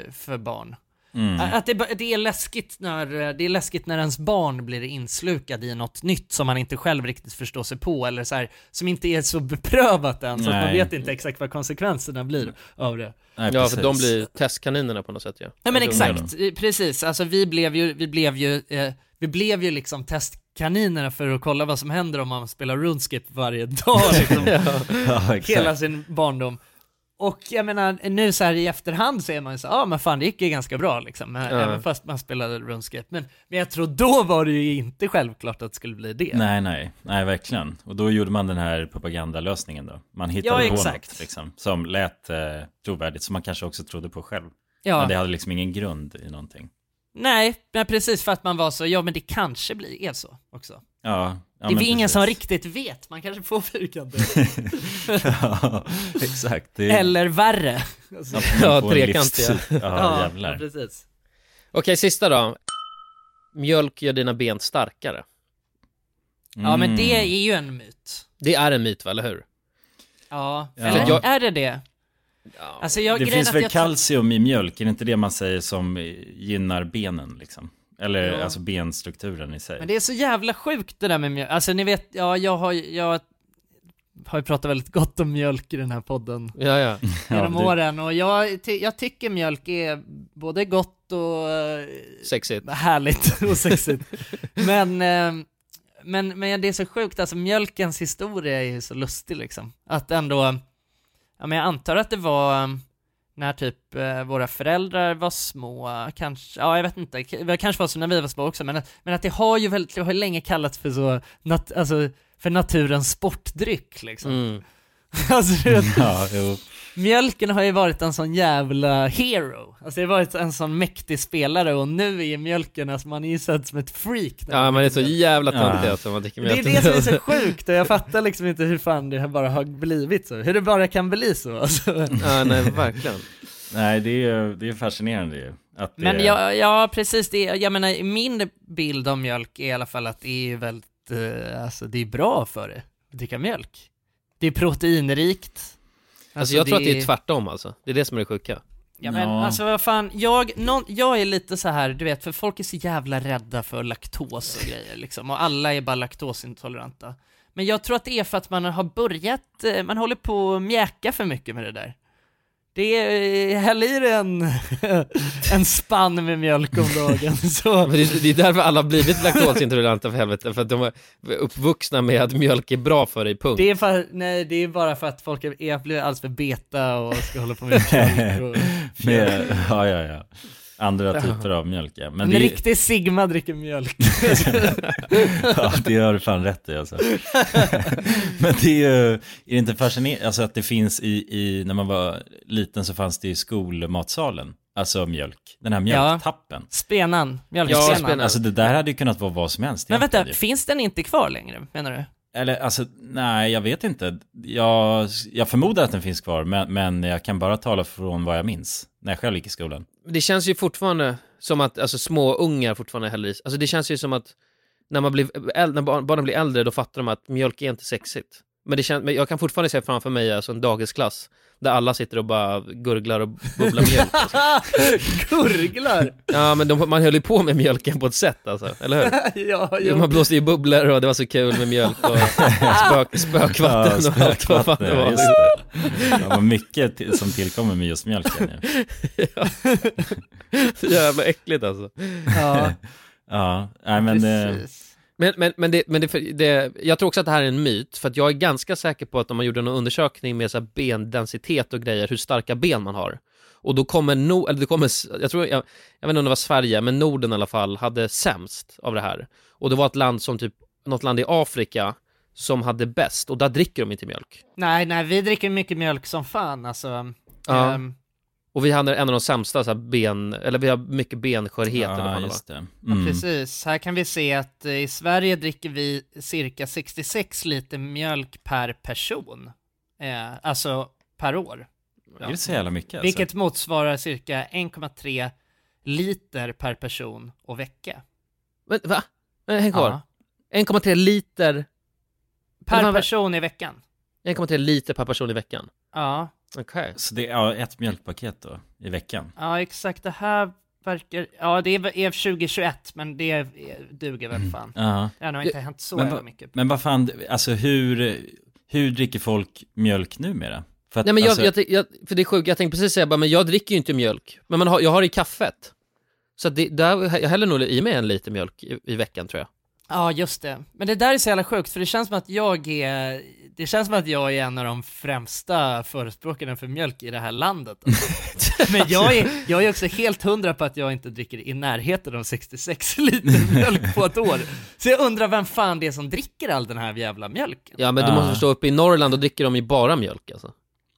Speaker 2: eh, för barn.
Speaker 3: Mm.
Speaker 2: Att det, ba- det, är läskigt när, eh, det är läskigt när ens barn blir inslukad i något nytt som man inte själv riktigt förstår sig på eller så här, som inte är så beprövat än så att man
Speaker 3: Nej.
Speaker 2: vet inte exakt vad konsekvenserna blir av det.
Speaker 3: Nej,
Speaker 1: Ja,
Speaker 3: precis.
Speaker 1: för de blir testkaninerna på något sätt ju.
Speaker 2: Nej men
Speaker 1: Eller de gör
Speaker 2: exakt, eh, precis. Alltså vi blev ju, vi blev ju, eh, vi blev ju liksom testkaninerna för att kolla vad som händer om man spelar RuneScape varje dag liksom.
Speaker 3: ja, exakt.
Speaker 2: hela sin barndom. Och jag menar, nu så här i efterhand så är man ju så ja ah, men fan det gick ju ganska bra liksom, men-
Speaker 1: Ja.
Speaker 2: även fast man spelade RuneScape. Men, men jag tror då var det ju inte självklart att det skulle bli det.
Speaker 3: Nej, nej, nej, verkligen. Och då gjorde man den här propagandalösningen då. Man hittade
Speaker 2: Ja,
Speaker 3: på
Speaker 2: exakt.
Speaker 3: något liksom, som lät eh, trovärdigt, som man kanske också trodde på själv.
Speaker 2: Ja.
Speaker 3: Men det hade liksom ingen grund i någonting.
Speaker 2: Nej, men precis för att man var så, ja men det kanske blir är så också.
Speaker 3: Ja, ja
Speaker 2: det är
Speaker 3: men
Speaker 2: väl ingen
Speaker 3: precis.
Speaker 2: som riktigt vet, man kanske får fyrkanter.
Speaker 3: ja, exakt. Det är-
Speaker 2: Eller värre.
Speaker 3: Ja,
Speaker 1: Ja,
Speaker 3: man får en
Speaker 1: trekantiga.
Speaker 3: livsstil. Ja, ja, jävlar.
Speaker 2: precis.
Speaker 1: Okej, sista då. Mjölk gör dina ben starkare.
Speaker 2: Ja men
Speaker 3: Mm.
Speaker 2: det är ju en myt.
Speaker 1: Det är en myt, va, eller hur?
Speaker 2: Ja,
Speaker 3: Ja.
Speaker 2: eller
Speaker 1: Jag-
Speaker 2: är det det? Alltså jag,
Speaker 3: Det
Speaker 2: grejen är
Speaker 3: finns
Speaker 2: att
Speaker 3: väl
Speaker 2: jag tror-
Speaker 3: kalcium i mjölk, är det inte det man säger som gynnar benen liksom? Eller
Speaker 2: Ja.
Speaker 3: alltså benstrukturen i sig.
Speaker 2: Men det är så jävla sjukt det där med mjölk. Alltså ni vet, ja, jag har ju- jag har ju pratat väldigt gott om mjölk i den här podden
Speaker 1: Ja, ja.
Speaker 3: Ja,
Speaker 2: genom
Speaker 3: det-
Speaker 2: åren och jag, ty- jag tycker mjölk är både gott och eh,
Speaker 1: Sexigt.
Speaker 2: härligt och sexigt. men, eh, men, men det är så sjukt, alltså mjölkens historia är ju så lustig liksom. Att ändå, ja men jag antar att det var eh, när typ eh, våra föräldrar var små, kanske, ja jag vet inte, K- det kanske var så när vi var små också, men, men att det har ju väldigt, det har ju länge kallats för så, nat, alltså för naturens sportdryck liksom.
Speaker 1: Mm.
Speaker 2: alltså, du vet,
Speaker 3: Ja, jo.
Speaker 2: Mjölken har ju varit en sån jävla hero. Alltså det har varit en sån mäktig spelare och nu är mjölken, alltså man är ju sedd som ett freak. när
Speaker 1: Ja, man är så jävla töntig
Speaker 3: Ja.
Speaker 1: alltså, man dricker
Speaker 2: Det är
Speaker 1: mjölk.
Speaker 2: det som är så sjukt och jag fattar liksom inte hur fan det här bara har blivit så. Hur det bara kan bli så alltså.
Speaker 1: Ja, nej, verkligen.
Speaker 3: Nej, det är, det är fascinerande ju. Att det,
Speaker 2: Men ja, ja precis, det, jag menar min bild av mjölk är i alla fall att det är väldigt, eh, alltså det är bra för det, att dricka mjölk. Det är proteinrikt.
Speaker 1: Alltså jag tror att det är tvärtom alltså, det är det som är det sjuka.
Speaker 2: Ja men
Speaker 3: Ja.
Speaker 2: alltså vad fan, jag, någon, jag är lite så här, du vet, för folk är så jävla rädda för laktos och grejer liksom, och alla är bara laktosintoleranta. Men jag tror att det är för att man har börjat, eh, man håller på att mjäka för mycket med det där. Det är, eh, häll i dig en, en spann med mjölk om dagen så.
Speaker 1: Men det, är- det är därför alla har blivit laktosintoleranta för helvete, för att de är uppvuxna med att mjölk är bra för dig, punkt.
Speaker 2: Det är, för, nej, det är bara för att folk är, jag blir alldeles för beta och ska hålla på med mjölk. Och,
Speaker 3: Med, ja, ja, ja. Andra typer av mjölk, ja. Men
Speaker 2: en
Speaker 3: det, är-
Speaker 2: riktig Sigma dricker mjölk.
Speaker 3: ja, det gör du fan rätt i alltså. Men det är ju, är det inte fascinerande, alltså att det finns i, i, när man var liten så fanns det i skolmatsalen, alltså mjölk, den här mjölktappen.
Speaker 2: Spenan, mjölkspenan.
Speaker 1: Ja, spenan.
Speaker 3: Alltså det där hade ju kunnat vara vad som helst.
Speaker 2: Men vänta,
Speaker 3: egentligen ju.
Speaker 2: finns den inte kvar längre menar du?
Speaker 3: Eller alltså, nej jag vet inte. Jag, jag förmodar att den finns kvar, men, men jag kan bara tala från vad jag minns när jag själv gick i skolan.
Speaker 1: det känns ju fortfarande som att alltså, små ungar fortfarande häller i sig. Alltså det känns ju som att när, man blir äldre, när barn- barnen blir äldre då fattar de att mjölk är inte sexigt. Men, det känns, men jag kan fortfarande se framför mig alltså, en dagisklass där alla sitter och bara gurglar och bubblar mjölk. Alltså.
Speaker 2: Gurglar!
Speaker 1: Ja men de, man höll ju på med mjölken på ett sätt alltså, eller hur?
Speaker 2: ja, jo.
Speaker 1: Man blåste ju bubblor och det var så kul med mjölk och spök, spökvatten och allt vad fan det
Speaker 3: Ja,
Speaker 1: var.
Speaker 3: just det. det var mycket till, som tillkommer med just mjölken. ju.
Speaker 1: Så jävla äckligt alltså.
Speaker 2: ja,
Speaker 3: Ja, nej men... eh,
Speaker 2: precis.
Speaker 1: Men, men, men, det, men det, det, jag tror också att det här är en myt, för att jag är ganska säker på att om man gjorde någon undersökning med så här bendensitet och grejer, hur starka ben man har. Och då kommer no, eller det kommer, s- jag tror, jag, jag vet inte om det var Sverige, men Norden i alla fall, hade sämst av det här. Och det var ett land som typ, något land i Afrika, som hade bäst, och där dricker de inte mjölk.
Speaker 2: Nej, nej, vi dricker mycket mjölk som fan alltså.
Speaker 1: Ja.
Speaker 2: Ehm,
Speaker 1: Och vi hade en av de sämsta så här, ben, eller vi har mycket benskörhet eller vad
Speaker 3: ja,
Speaker 1: det var.
Speaker 3: just det.
Speaker 2: ja,
Speaker 3: Mm.
Speaker 2: precis. Här kan vi se att eh, i Sverige dricker vi cirka 66 liter mjölk per person. Eh, alltså per år.
Speaker 3: Är det så jävla mycket alltså?
Speaker 2: Vilket motsvarar cirka 1,3 liter per person och vecka.
Speaker 1: Men, va? Eh, Häng kvar.
Speaker 2: Ja.
Speaker 1: 1,3 liter, Men
Speaker 2: Per
Speaker 1: man-
Speaker 2: person i veckan.
Speaker 1: 1,3 liter per person i veckan.
Speaker 2: Ja.
Speaker 1: Okej.
Speaker 3: Så det är ja, ett mjölkpaket då, i veckan.
Speaker 2: Ja, exakt. Det här verkar... Ja, det är väl- är 2021, men det är- duger väl fan.
Speaker 3: Ja.
Speaker 2: Det har nog inte hänt så
Speaker 3: Mm. Men
Speaker 2: jävla
Speaker 3: vad-
Speaker 2: mycket.
Speaker 3: Men vad fan, alltså hur, hur dricker folk mjölk numera? För att,
Speaker 1: Nej men jag,
Speaker 3: alltså,
Speaker 1: jag, tänk- jag, för det är sjukt, jag tänkte precis säga bara, men jag dricker ju inte mjölk, men man har, jag har det i kaffet. Så att det, där, jag häller nog i mig en liter mjölk i, i veckan tror jag.
Speaker 2: Ja, just det. Men det där är så jävla sjukt, för det känns som att jag är... Det känns som att jag är en av de främsta förespråkarna för mjölk i det här landet. alltså. Men jag är, jag är också helt hundra på att jag inte dricker i närheten av 66 liter mjölk på ett år. Så jag undrar vem fan det är som dricker all den här jävla mjölken.
Speaker 1: Ja men du
Speaker 3: Ah.
Speaker 1: måste förstå, uppe i Norrland då dricker de ju bara mjölk alltså.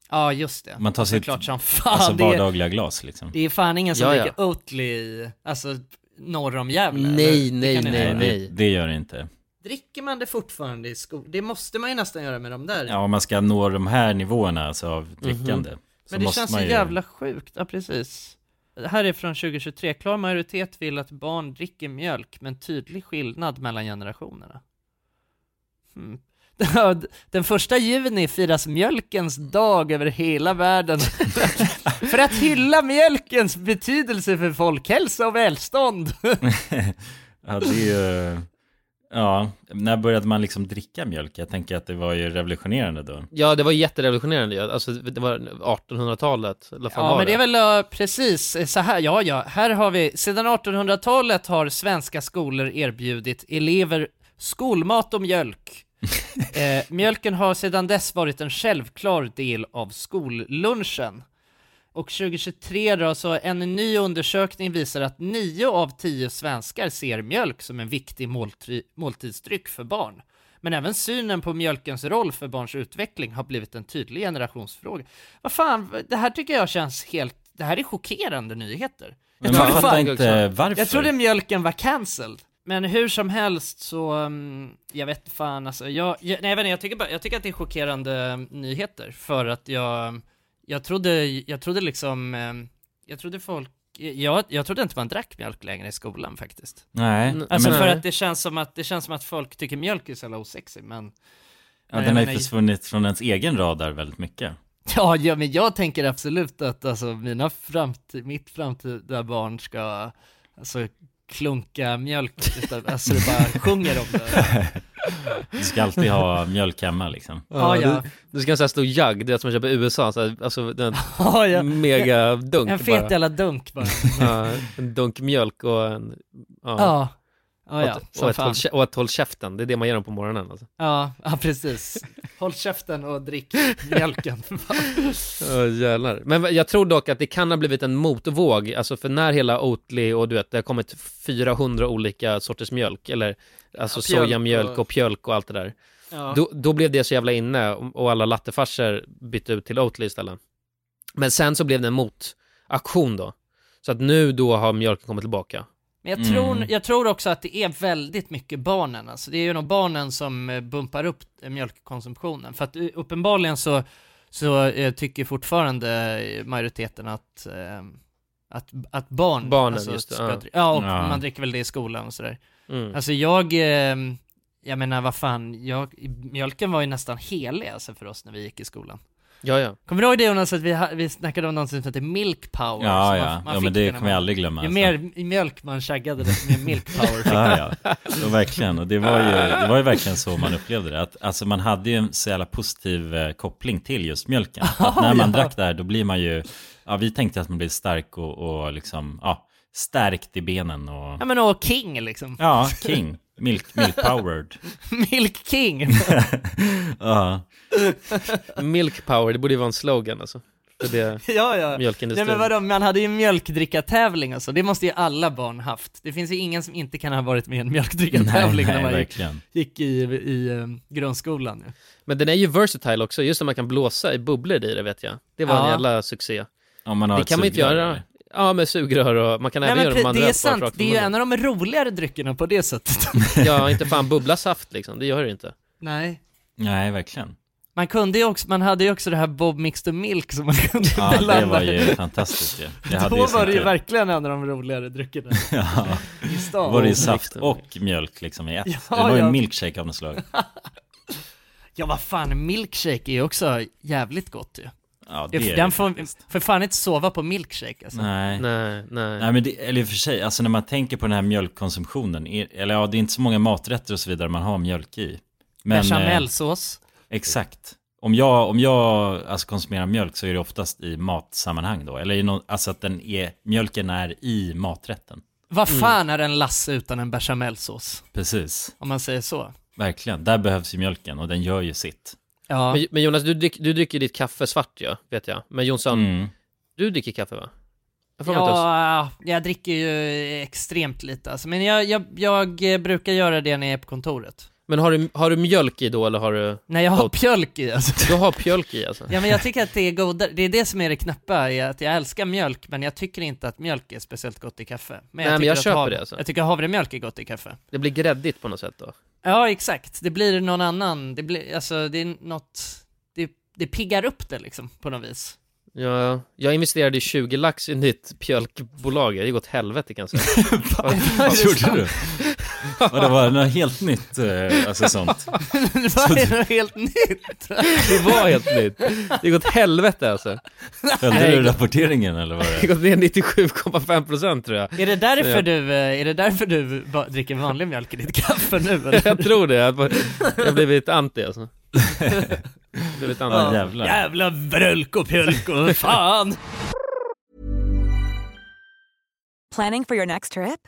Speaker 2: Ja, just det.
Speaker 3: Man tar sitt
Speaker 2: Såklart som fan.
Speaker 3: alltså,
Speaker 2: det är-
Speaker 3: vardagliga glas liksom.
Speaker 2: Det är fan ingen som
Speaker 1: Ja, ja.
Speaker 2: dricker Oatly i, alltså norr om Gävle.
Speaker 1: Nej,
Speaker 2: eller?
Speaker 1: nej,
Speaker 2: kan ni
Speaker 1: nej,
Speaker 2: göra.
Speaker 1: nej.
Speaker 3: det, det gör det inte.
Speaker 2: Dricker man det fortfarande i skolan? Det måste man ju nästan göra med de där.
Speaker 3: Ja, om man ska nå de här nivåerna alltså, av drickande. så
Speaker 2: Mhm. Men det
Speaker 3: måste
Speaker 2: känns
Speaker 3: man
Speaker 2: så
Speaker 3: ju-
Speaker 2: jävla sjukt, ja precis. Det här är från 2023, klar majoritet vill att barn dricker mjölk, men tydlig skillnad mellan generationerna. Hmm. Den första juni firas mjölkens dag över hela världen för att hylla mjölkens betydelse för folkhälsa och välstånd.
Speaker 3: Ja, det är ju... Ja, när började man liksom dricka mjölk? Jag tänker att det var ju revolutionerande då.
Speaker 1: Ja det var ju jätterevolutionerande ju. alltså det var 1800-talet, eller vad fan
Speaker 2: Ja,
Speaker 1: var
Speaker 2: men det
Speaker 1: det?
Speaker 2: är väl eh, precis eh, så här, ja, ja, här har vi, sedan 1800-talet har svenska skolor erbjudit elever skolmat och mjölk. eh, mjölken har sedan dess varit en självklar del av skollunchen. Och 2023 då, så en ny undersökning visar att 9 av 10 svenskar ser mjölk som en viktig måltri- måltidsdryck för barn. Men även synen på mjölkens roll för barns utveckling har blivit en tydlig generationsfråga. Vad fan, det här tycker jag känns helt, det här är chockerande nyheter.
Speaker 3: Men
Speaker 2: Jag
Speaker 3: man
Speaker 2: trodde
Speaker 3: fattar
Speaker 2: fan-
Speaker 3: inte varför.
Speaker 2: Jag trodde mjölken var cancelled. Men hur som helst så, mm, jag vet fan alltså, jag, jag, nej, jag, vet inte, jag, tycker bara, jag tycker att det är chockerande mm, nyheter för att jag, jag trodde, jag trodde liksom, mm, jag trodde folk, jag, jag trodde inte man drack mjölk längre i skolan faktiskt.
Speaker 3: Nej.
Speaker 2: Alltså
Speaker 3: men,
Speaker 2: för att det känns som att, det känns som att folk tycker mjölk är så jävla osexig men
Speaker 3: ja,
Speaker 2: jag
Speaker 3: den har ju
Speaker 2: menar-
Speaker 3: försvunnit från ens egen radar väldigt mycket.
Speaker 2: Ja, ja, men jag tänker absolut att alltså, mina framtid, mitt framtida barn ska alltså, klunka mjölk, utan- alltså det bara sjunger om det.
Speaker 3: Du ska alltid ha mjölk hemma liksom.
Speaker 2: Ja, ja.
Speaker 1: Du, du ska ha en sån här stor jug, det är som man köper i USA, så här, alltså den
Speaker 2: Ja, ja.
Speaker 1: mega dunk
Speaker 2: En fet
Speaker 1: bara.
Speaker 2: jävla dunk bara.
Speaker 1: Ja, en dunk mjölk och en... Ja.
Speaker 2: Ja, ja, ja,
Speaker 1: och, ett- och,
Speaker 2: som
Speaker 1: ett
Speaker 2: fan.
Speaker 1: håll, kä- och ett håll käften, det är det man gör dem på morgonen alltså.
Speaker 2: Ja, ja, precis. Håll käften och drick mjölken.
Speaker 1: Oh, jävlar. Men vad- jag tror dock att det kan ha blivit en motvåg, alltså för när hela Oatly och du vet, det har kommit 400 olika sorters mjölk, eller alltså
Speaker 2: Ja, pjölk
Speaker 1: sojamjölk
Speaker 2: och-
Speaker 1: och pjölk och allt det där.
Speaker 2: Ja.
Speaker 1: Då, då blev det så jävla inne och och alla lattefarsor bytte ut till Oatly istället. Men sen så blev det en motaktion då. Så att nu då har mjölken kommit tillbaka.
Speaker 2: Men jag tror,
Speaker 3: Mm.
Speaker 2: jag tror också att det är väldigt mycket barnen, alltså det är ju nog barnen som eh, bumpar upp eh, mjölkkonsumtionen, för att eh, uppenbarligen så, så eh, tycker fortfarande eh, majoriteten att, eh, att, att barn
Speaker 1: Barnen,
Speaker 2: alltså,
Speaker 1: just det,
Speaker 2: ska
Speaker 1: ja.
Speaker 2: dri- ja, och
Speaker 3: Ja.
Speaker 2: man dricker väl det i skolan och sådär.
Speaker 1: Mm.
Speaker 2: Alltså jag, eh, jag menar vad fan, jag, mjölken var ju nästan helig alltså för oss när vi gick i skolan.
Speaker 1: Ja, ja.
Speaker 2: Kommer du ihåg det Jonas, att vi, ha- vi snackade om något som hette milk power? Alltså,
Speaker 3: Ja,
Speaker 2: som
Speaker 3: ja. ja
Speaker 2: fick
Speaker 3: men det
Speaker 2: när
Speaker 3: kommer jag aldrig glömma.
Speaker 2: ju
Speaker 3: alltså.
Speaker 2: mer mjölk man shaggade, desto mer milk power fick
Speaker 3: Ja, ja. Så verkligen. Och det var, ju, det var ju verkligen så man upplevde det. Att, alltså man hade ju en så jävla positiv eh, koppling till just mjölken. Att när man drack där då blir man ju, ja vi tänkte att man blir stark och, och liksom, ja, stärkt i benen och,
Speaker 2: Ja men och king liksom.
Speaker 3: ja, king. Milk, milk powered.
Speaker 2: Milk king.
Speaker 3: Ja,
Speaker 1: Milk power, det borde ju vara en slogan alltså. För det,
Speaker 2: ja ja. Nej
Speaker 1: mjölkindustrin.
Speaker 2: men vadå, man hade ju mjölkdrickartävling och så, det måste ju alla barn haft. Det finns ju ingen som inte kan ha varit med i en mjölkdrickartävling
Speaker 3: nej,
Speaker 2: när man gick,
Speaker 3: verkligen.
Speaker 2: gick i, i eh, grundskolan ju.
Speaker 1: Men den är ju versatile också, just att man kan blåsa i bubblor i det vet jag. Det var en
Speaker 2: Ja.
Speaker 1: jävla succé.
Speaker 3: Om man har
Speaker 1: Det
Speaker 3: ett
Speaker 1: kan man ju inte
Speaker 3: sugrör,
Speaker 1: göra.
Speaker 3: eller?
Speaker 1: Ja, med sugrör och man kan
Speaker 2: Nej
Speaker 1: även
Speaker 2: men
Speaker 1: göra de
Speaker 2: pre-
Speaker 1: andra
Speaker 2: det är
Speaker 1: bara
Speaker 2: sant,
Speaker 1: rakt i
Speaker 2: det är ju
Speaker 1: munnen.
Speaker 2: en av de roligare dryckerna på det sättet.
Speaker 1: Ja, inte fan bubbla saft liksom, det gör det inte.
Speaker 2: Nej.
Speaker 3: Nej, verkligen.
Speaker 2: Man kunde ju också, man hade ju också det här Bob Mixed Milk som man kunde
Speaker 3: Ja, det var
Speaker 2: blanda.
Speaker 3: ju fantastiskt ju. Jag hade
Speaker 2: Då
Speaker 3: sånt
Speaker 2: var det ju
Speaker 3: där-
Speaker 2: verkligen en av de roligare dryckerna
Speaker 3: Ja,
Speaker 2: i
Speaker 3: då
Speaker 2: stan.
Speaker 3: var det ju
Speaker 1: Oh,
Speaker 3: saft
Speaker 1: mixed
Speaker 3: och mjölk liksom i ett.
Speaker 2: Ja,
Speaker 3: det var ju
Speaker 2: ja.
Speaker 3: en milkshake av något slag.
Speaker 2: Ja vad fan, milkshake är ju också jävligt gott ju.
Speaker 3: Ja, det är
Speaker 2: Den får för fan inte sova på milkshake alltså.
Speaker 3: Nej.
Speaker 1: Nej, nej.
Speaker 3: Nej men det, eller i och för sig, alltså när man tänker på den här mjölkkonsumtionen, är- eller ja det är inte så många maträtter och så vidare man har mjölk i. Men, eh,
Speaker 2: Bechamelsås.
Speaker 3: exakt. Om jag, om jag alltså, konsumerar mjölk så är det oftast i matsammanhang då, eller i någon, alltså att den är, mjölken är i maträtten.
Speaker 2: Vad
Speaker 3: mm.
Speaker 2: fan är en lasse utan en bechamelsås?
Speaker 3: Precis,
Speaker 2: Om man säger så.
Speaker 3: verkligen. Där behövs ju mjölken och den gör ju sitt.
Speaker 2: Ja,
Speaker 1: Men, men Jonas, du, drick, du dricker ditt kaffe svart ja, vet jag. Men Jonsson,
Speaker 3: Mm.
Speaker 1: du dricker kaffe va? Jag får ja.
Speaker 2: ja jag dricker ju extremt lite alltså. Men jag, jag, jag eh, brukar göra det när jag är på kontoret.
Speaker 1: Men har du, har du mjölk i då eller har du...
Speaker 2: Nej, jag har
Speaker 1: Gott.
Speaker 2: mjölk i alltså.
Speaker 1: Du har mjölk i alltså?
Speaker 2: Ja men jag tycker att det är godare, det är det som är det knäppa, är att jag älskar mjölk men jag tycker inte att mjölk är speciellt gott i kaffe. Men
Speaker 1: Nej, men jag
Speaker 2: tycker att
Speaker 1: köper
Speaker 2: hav-
Speaker 1: det, alltså.
Speaker 2: Jag tycker havremjölk är gott i kaffe.
Speaker 1: Det blir gräddigt på något sätt då?
Speaker 2: Ja, exakt. Det blir någon annan, det blir, alltså det är något, det, det piggar upp det liksom på något vis.
Speaker 1: Ja, jag investerade 20 lax i nytt mjölkbolag, det gick åt helvete kan jag säga.
Speaker 3: Vad gjorde du? Vad det var något helt nytt, eh, alltså sånt.
Speaker 2: det var ju något helt nytt.
Speaker 1: Det var helt nytt. Det gick åt helvete alltså.
Speaker 3: Följde du rapporteringen eller vad det?
Speaker 1: Det gick åt ner 97,5 procent tror jag.
Speaker 2: Är det därför
Speaker 1: Ja.
Speaker 2: du, eh, är det därför du va- dricker vanlig mjölk i ditt kaffe nu eller?
Speaker 1: Jag tror det, jag jag har blivit anti alltså. Jag har blivit anti.
Speaker 3: Ja, jävlar.
Speaker 2: Jävla vrölk och pjölk och fan!
Speaker 8: Planning for your next trip?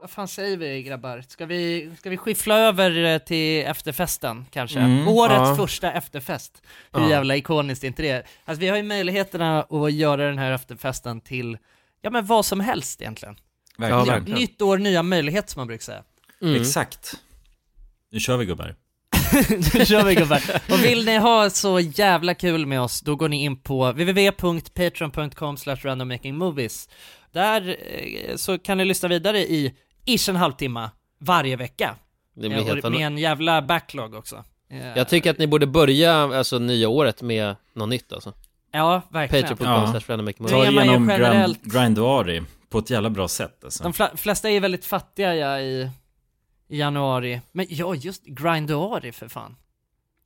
Speaker 2: Vad fan säger vi grabbar? Ska vi, ska vi skiffla över eh, till efterfesten kanske?
Speaker 1: Mm,
Speaker 2: Årets
Speaker 1: ja.
Speaker 2: första efterfest. Hur
Speaker 1: Ja.
Speaker 2: jävla ikoniskt är inte det? Alltså vi har ju möjligheterna att göra den här efterfesten till, ja men vad som helst egentligen.
Speaker 3: Verkligen.
Speaker 2: Ny-
Speaker 3: verkligen.
Speaker 2: Nytt år, nya möjligheter som man brukar säga.
Speaker 1: Mm.
Speaker 3: Exakt. Nu kör vi gubbar.
Speaker 2: Nu kör vi gubbar. Och vill ni ha så jävla kul med oss, då går ni in på www.patreon.com randommakingmovies. Där eh, så kan ni lyssna vidare i ish en halvtimme varje vecka.
Speaker 1: Det blir
Speaker 2: Eh, och
Speaker 1: helt fan-
Speaker 2: Med en jävla backlog också. Eh,
Speaker 1: Jag tycker att ni borde börja alltså, nya året med något nytt alltså.
Speaker 2: Ja, verkligen.
Speaker 1: Patreon.com slash randommakemovies.
Speaker 2: Nu
Speaker 3: Ta
Speaker 2: är man ju
Speaker 3: igenom
Speaker 2: generellt-
Speaker 3: Grand- Grindoari på ett jävla bra sätt alltså.
Speaker 2: De fla- flesta är ju väldigt fattiga ja, i i januari. Men ja, just grinduari för fan.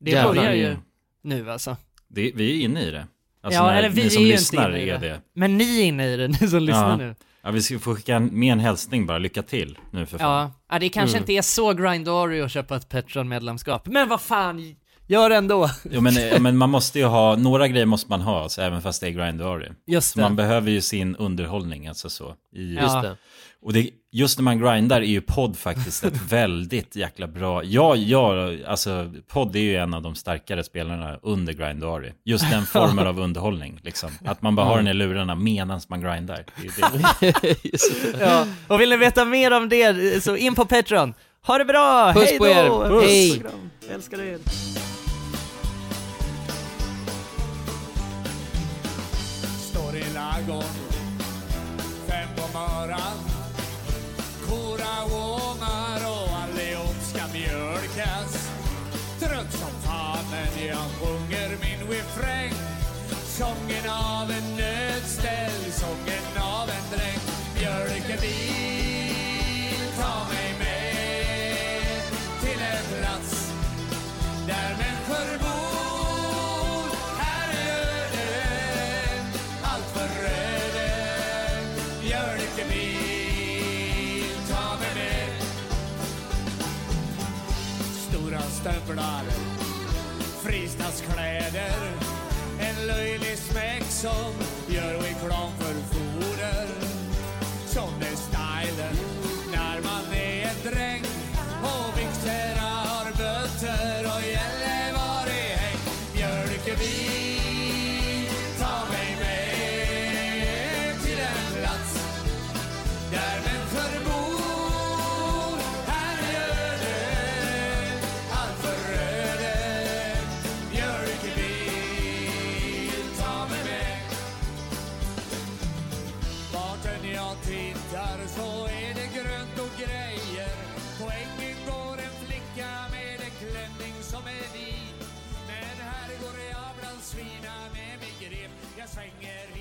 Speaker 2: Det
Speaker 3: Jävlar.
Speaker 2: börjar ju nu alltså.
Speaker 3: Det, vi är inne i det. Alltså
Speaker 2: Ja,
Speaker 3: när,
Speaker 2: eller vi
Speaker 3: ni som
Speaker 2: är ju inte
Speaker 3: lyssnar
Speaker 2: inne i
Speaker 3: är
Speaker 2: det.
Speaker 3: det.
Speaker 2: Men ni är inne i det, ni som lyssnar
Speaker 3: ja.
Speaker 2: nu.
Speaker 3: Ja, vi ska få skicka en- med en hälsning bara. Lycka till nu för fan.
Speaker 2: Ja, ja det kanske
Speaker 3: Mm.
Speaker 2: inte är så grindary att köpa ett Patreon-medlemskap, men vad fan, gör det ändå!
Speaker 3: Jo, men, eh, men man måste ju ha, några grejer måste man ha, så även fast det är grindoari.
Speaker 2: Just
Speaker 3: så
Speaker 2: det.
Speaker 3: man behöver ju sin underhållning, alltså så. I,
Speaker 2: Ja. Just det.
Speaker 3: Och det, just när man grindar är ju podd faktiskt ett väldigt jäkla bra, ja, ja, alltså podd är ju en av de starkare spelarna under grindoari. Just den formen av underhållning, liksom. Att man bara har den i lurarna medan man grindar. Det är det.
Speaker 2: ja. Och vill ni veta mer om det, så in på Patreon! Ha det bra!
Speaker 1: Puss
Speaker 2: Hej
Speaker 1: på
Speaker 2: då!
Speaker 1: er. Puss. Hej.
Speaker 2: Älskar er!
Speaker 10: Står i lagom fem på morgon Kora ånar och allihop ska mjölkas Trött som fan men jag sjunger min refräng Sången av en nödställ, sången av en dräng Mjölken vill ta mig med till en plats där människor bor Här är öden, allt för öden Mjölken vill ta mig ner Stora stövlar, fristadskläder En löjlig smäck som gör reklam för foder Som det är stylen när man är en dräng Och Vikterna har bötter och Gällivare häng Mjölkeby, ta mig med till en plats där människor bor Här är ödet, allt för ödet Björkevik, ta mig med Vart än jag tittar så är det grönt och grejer På ängen går en flicka med en klänning som är vit Men här går jag bland svina med min grep Jag svänger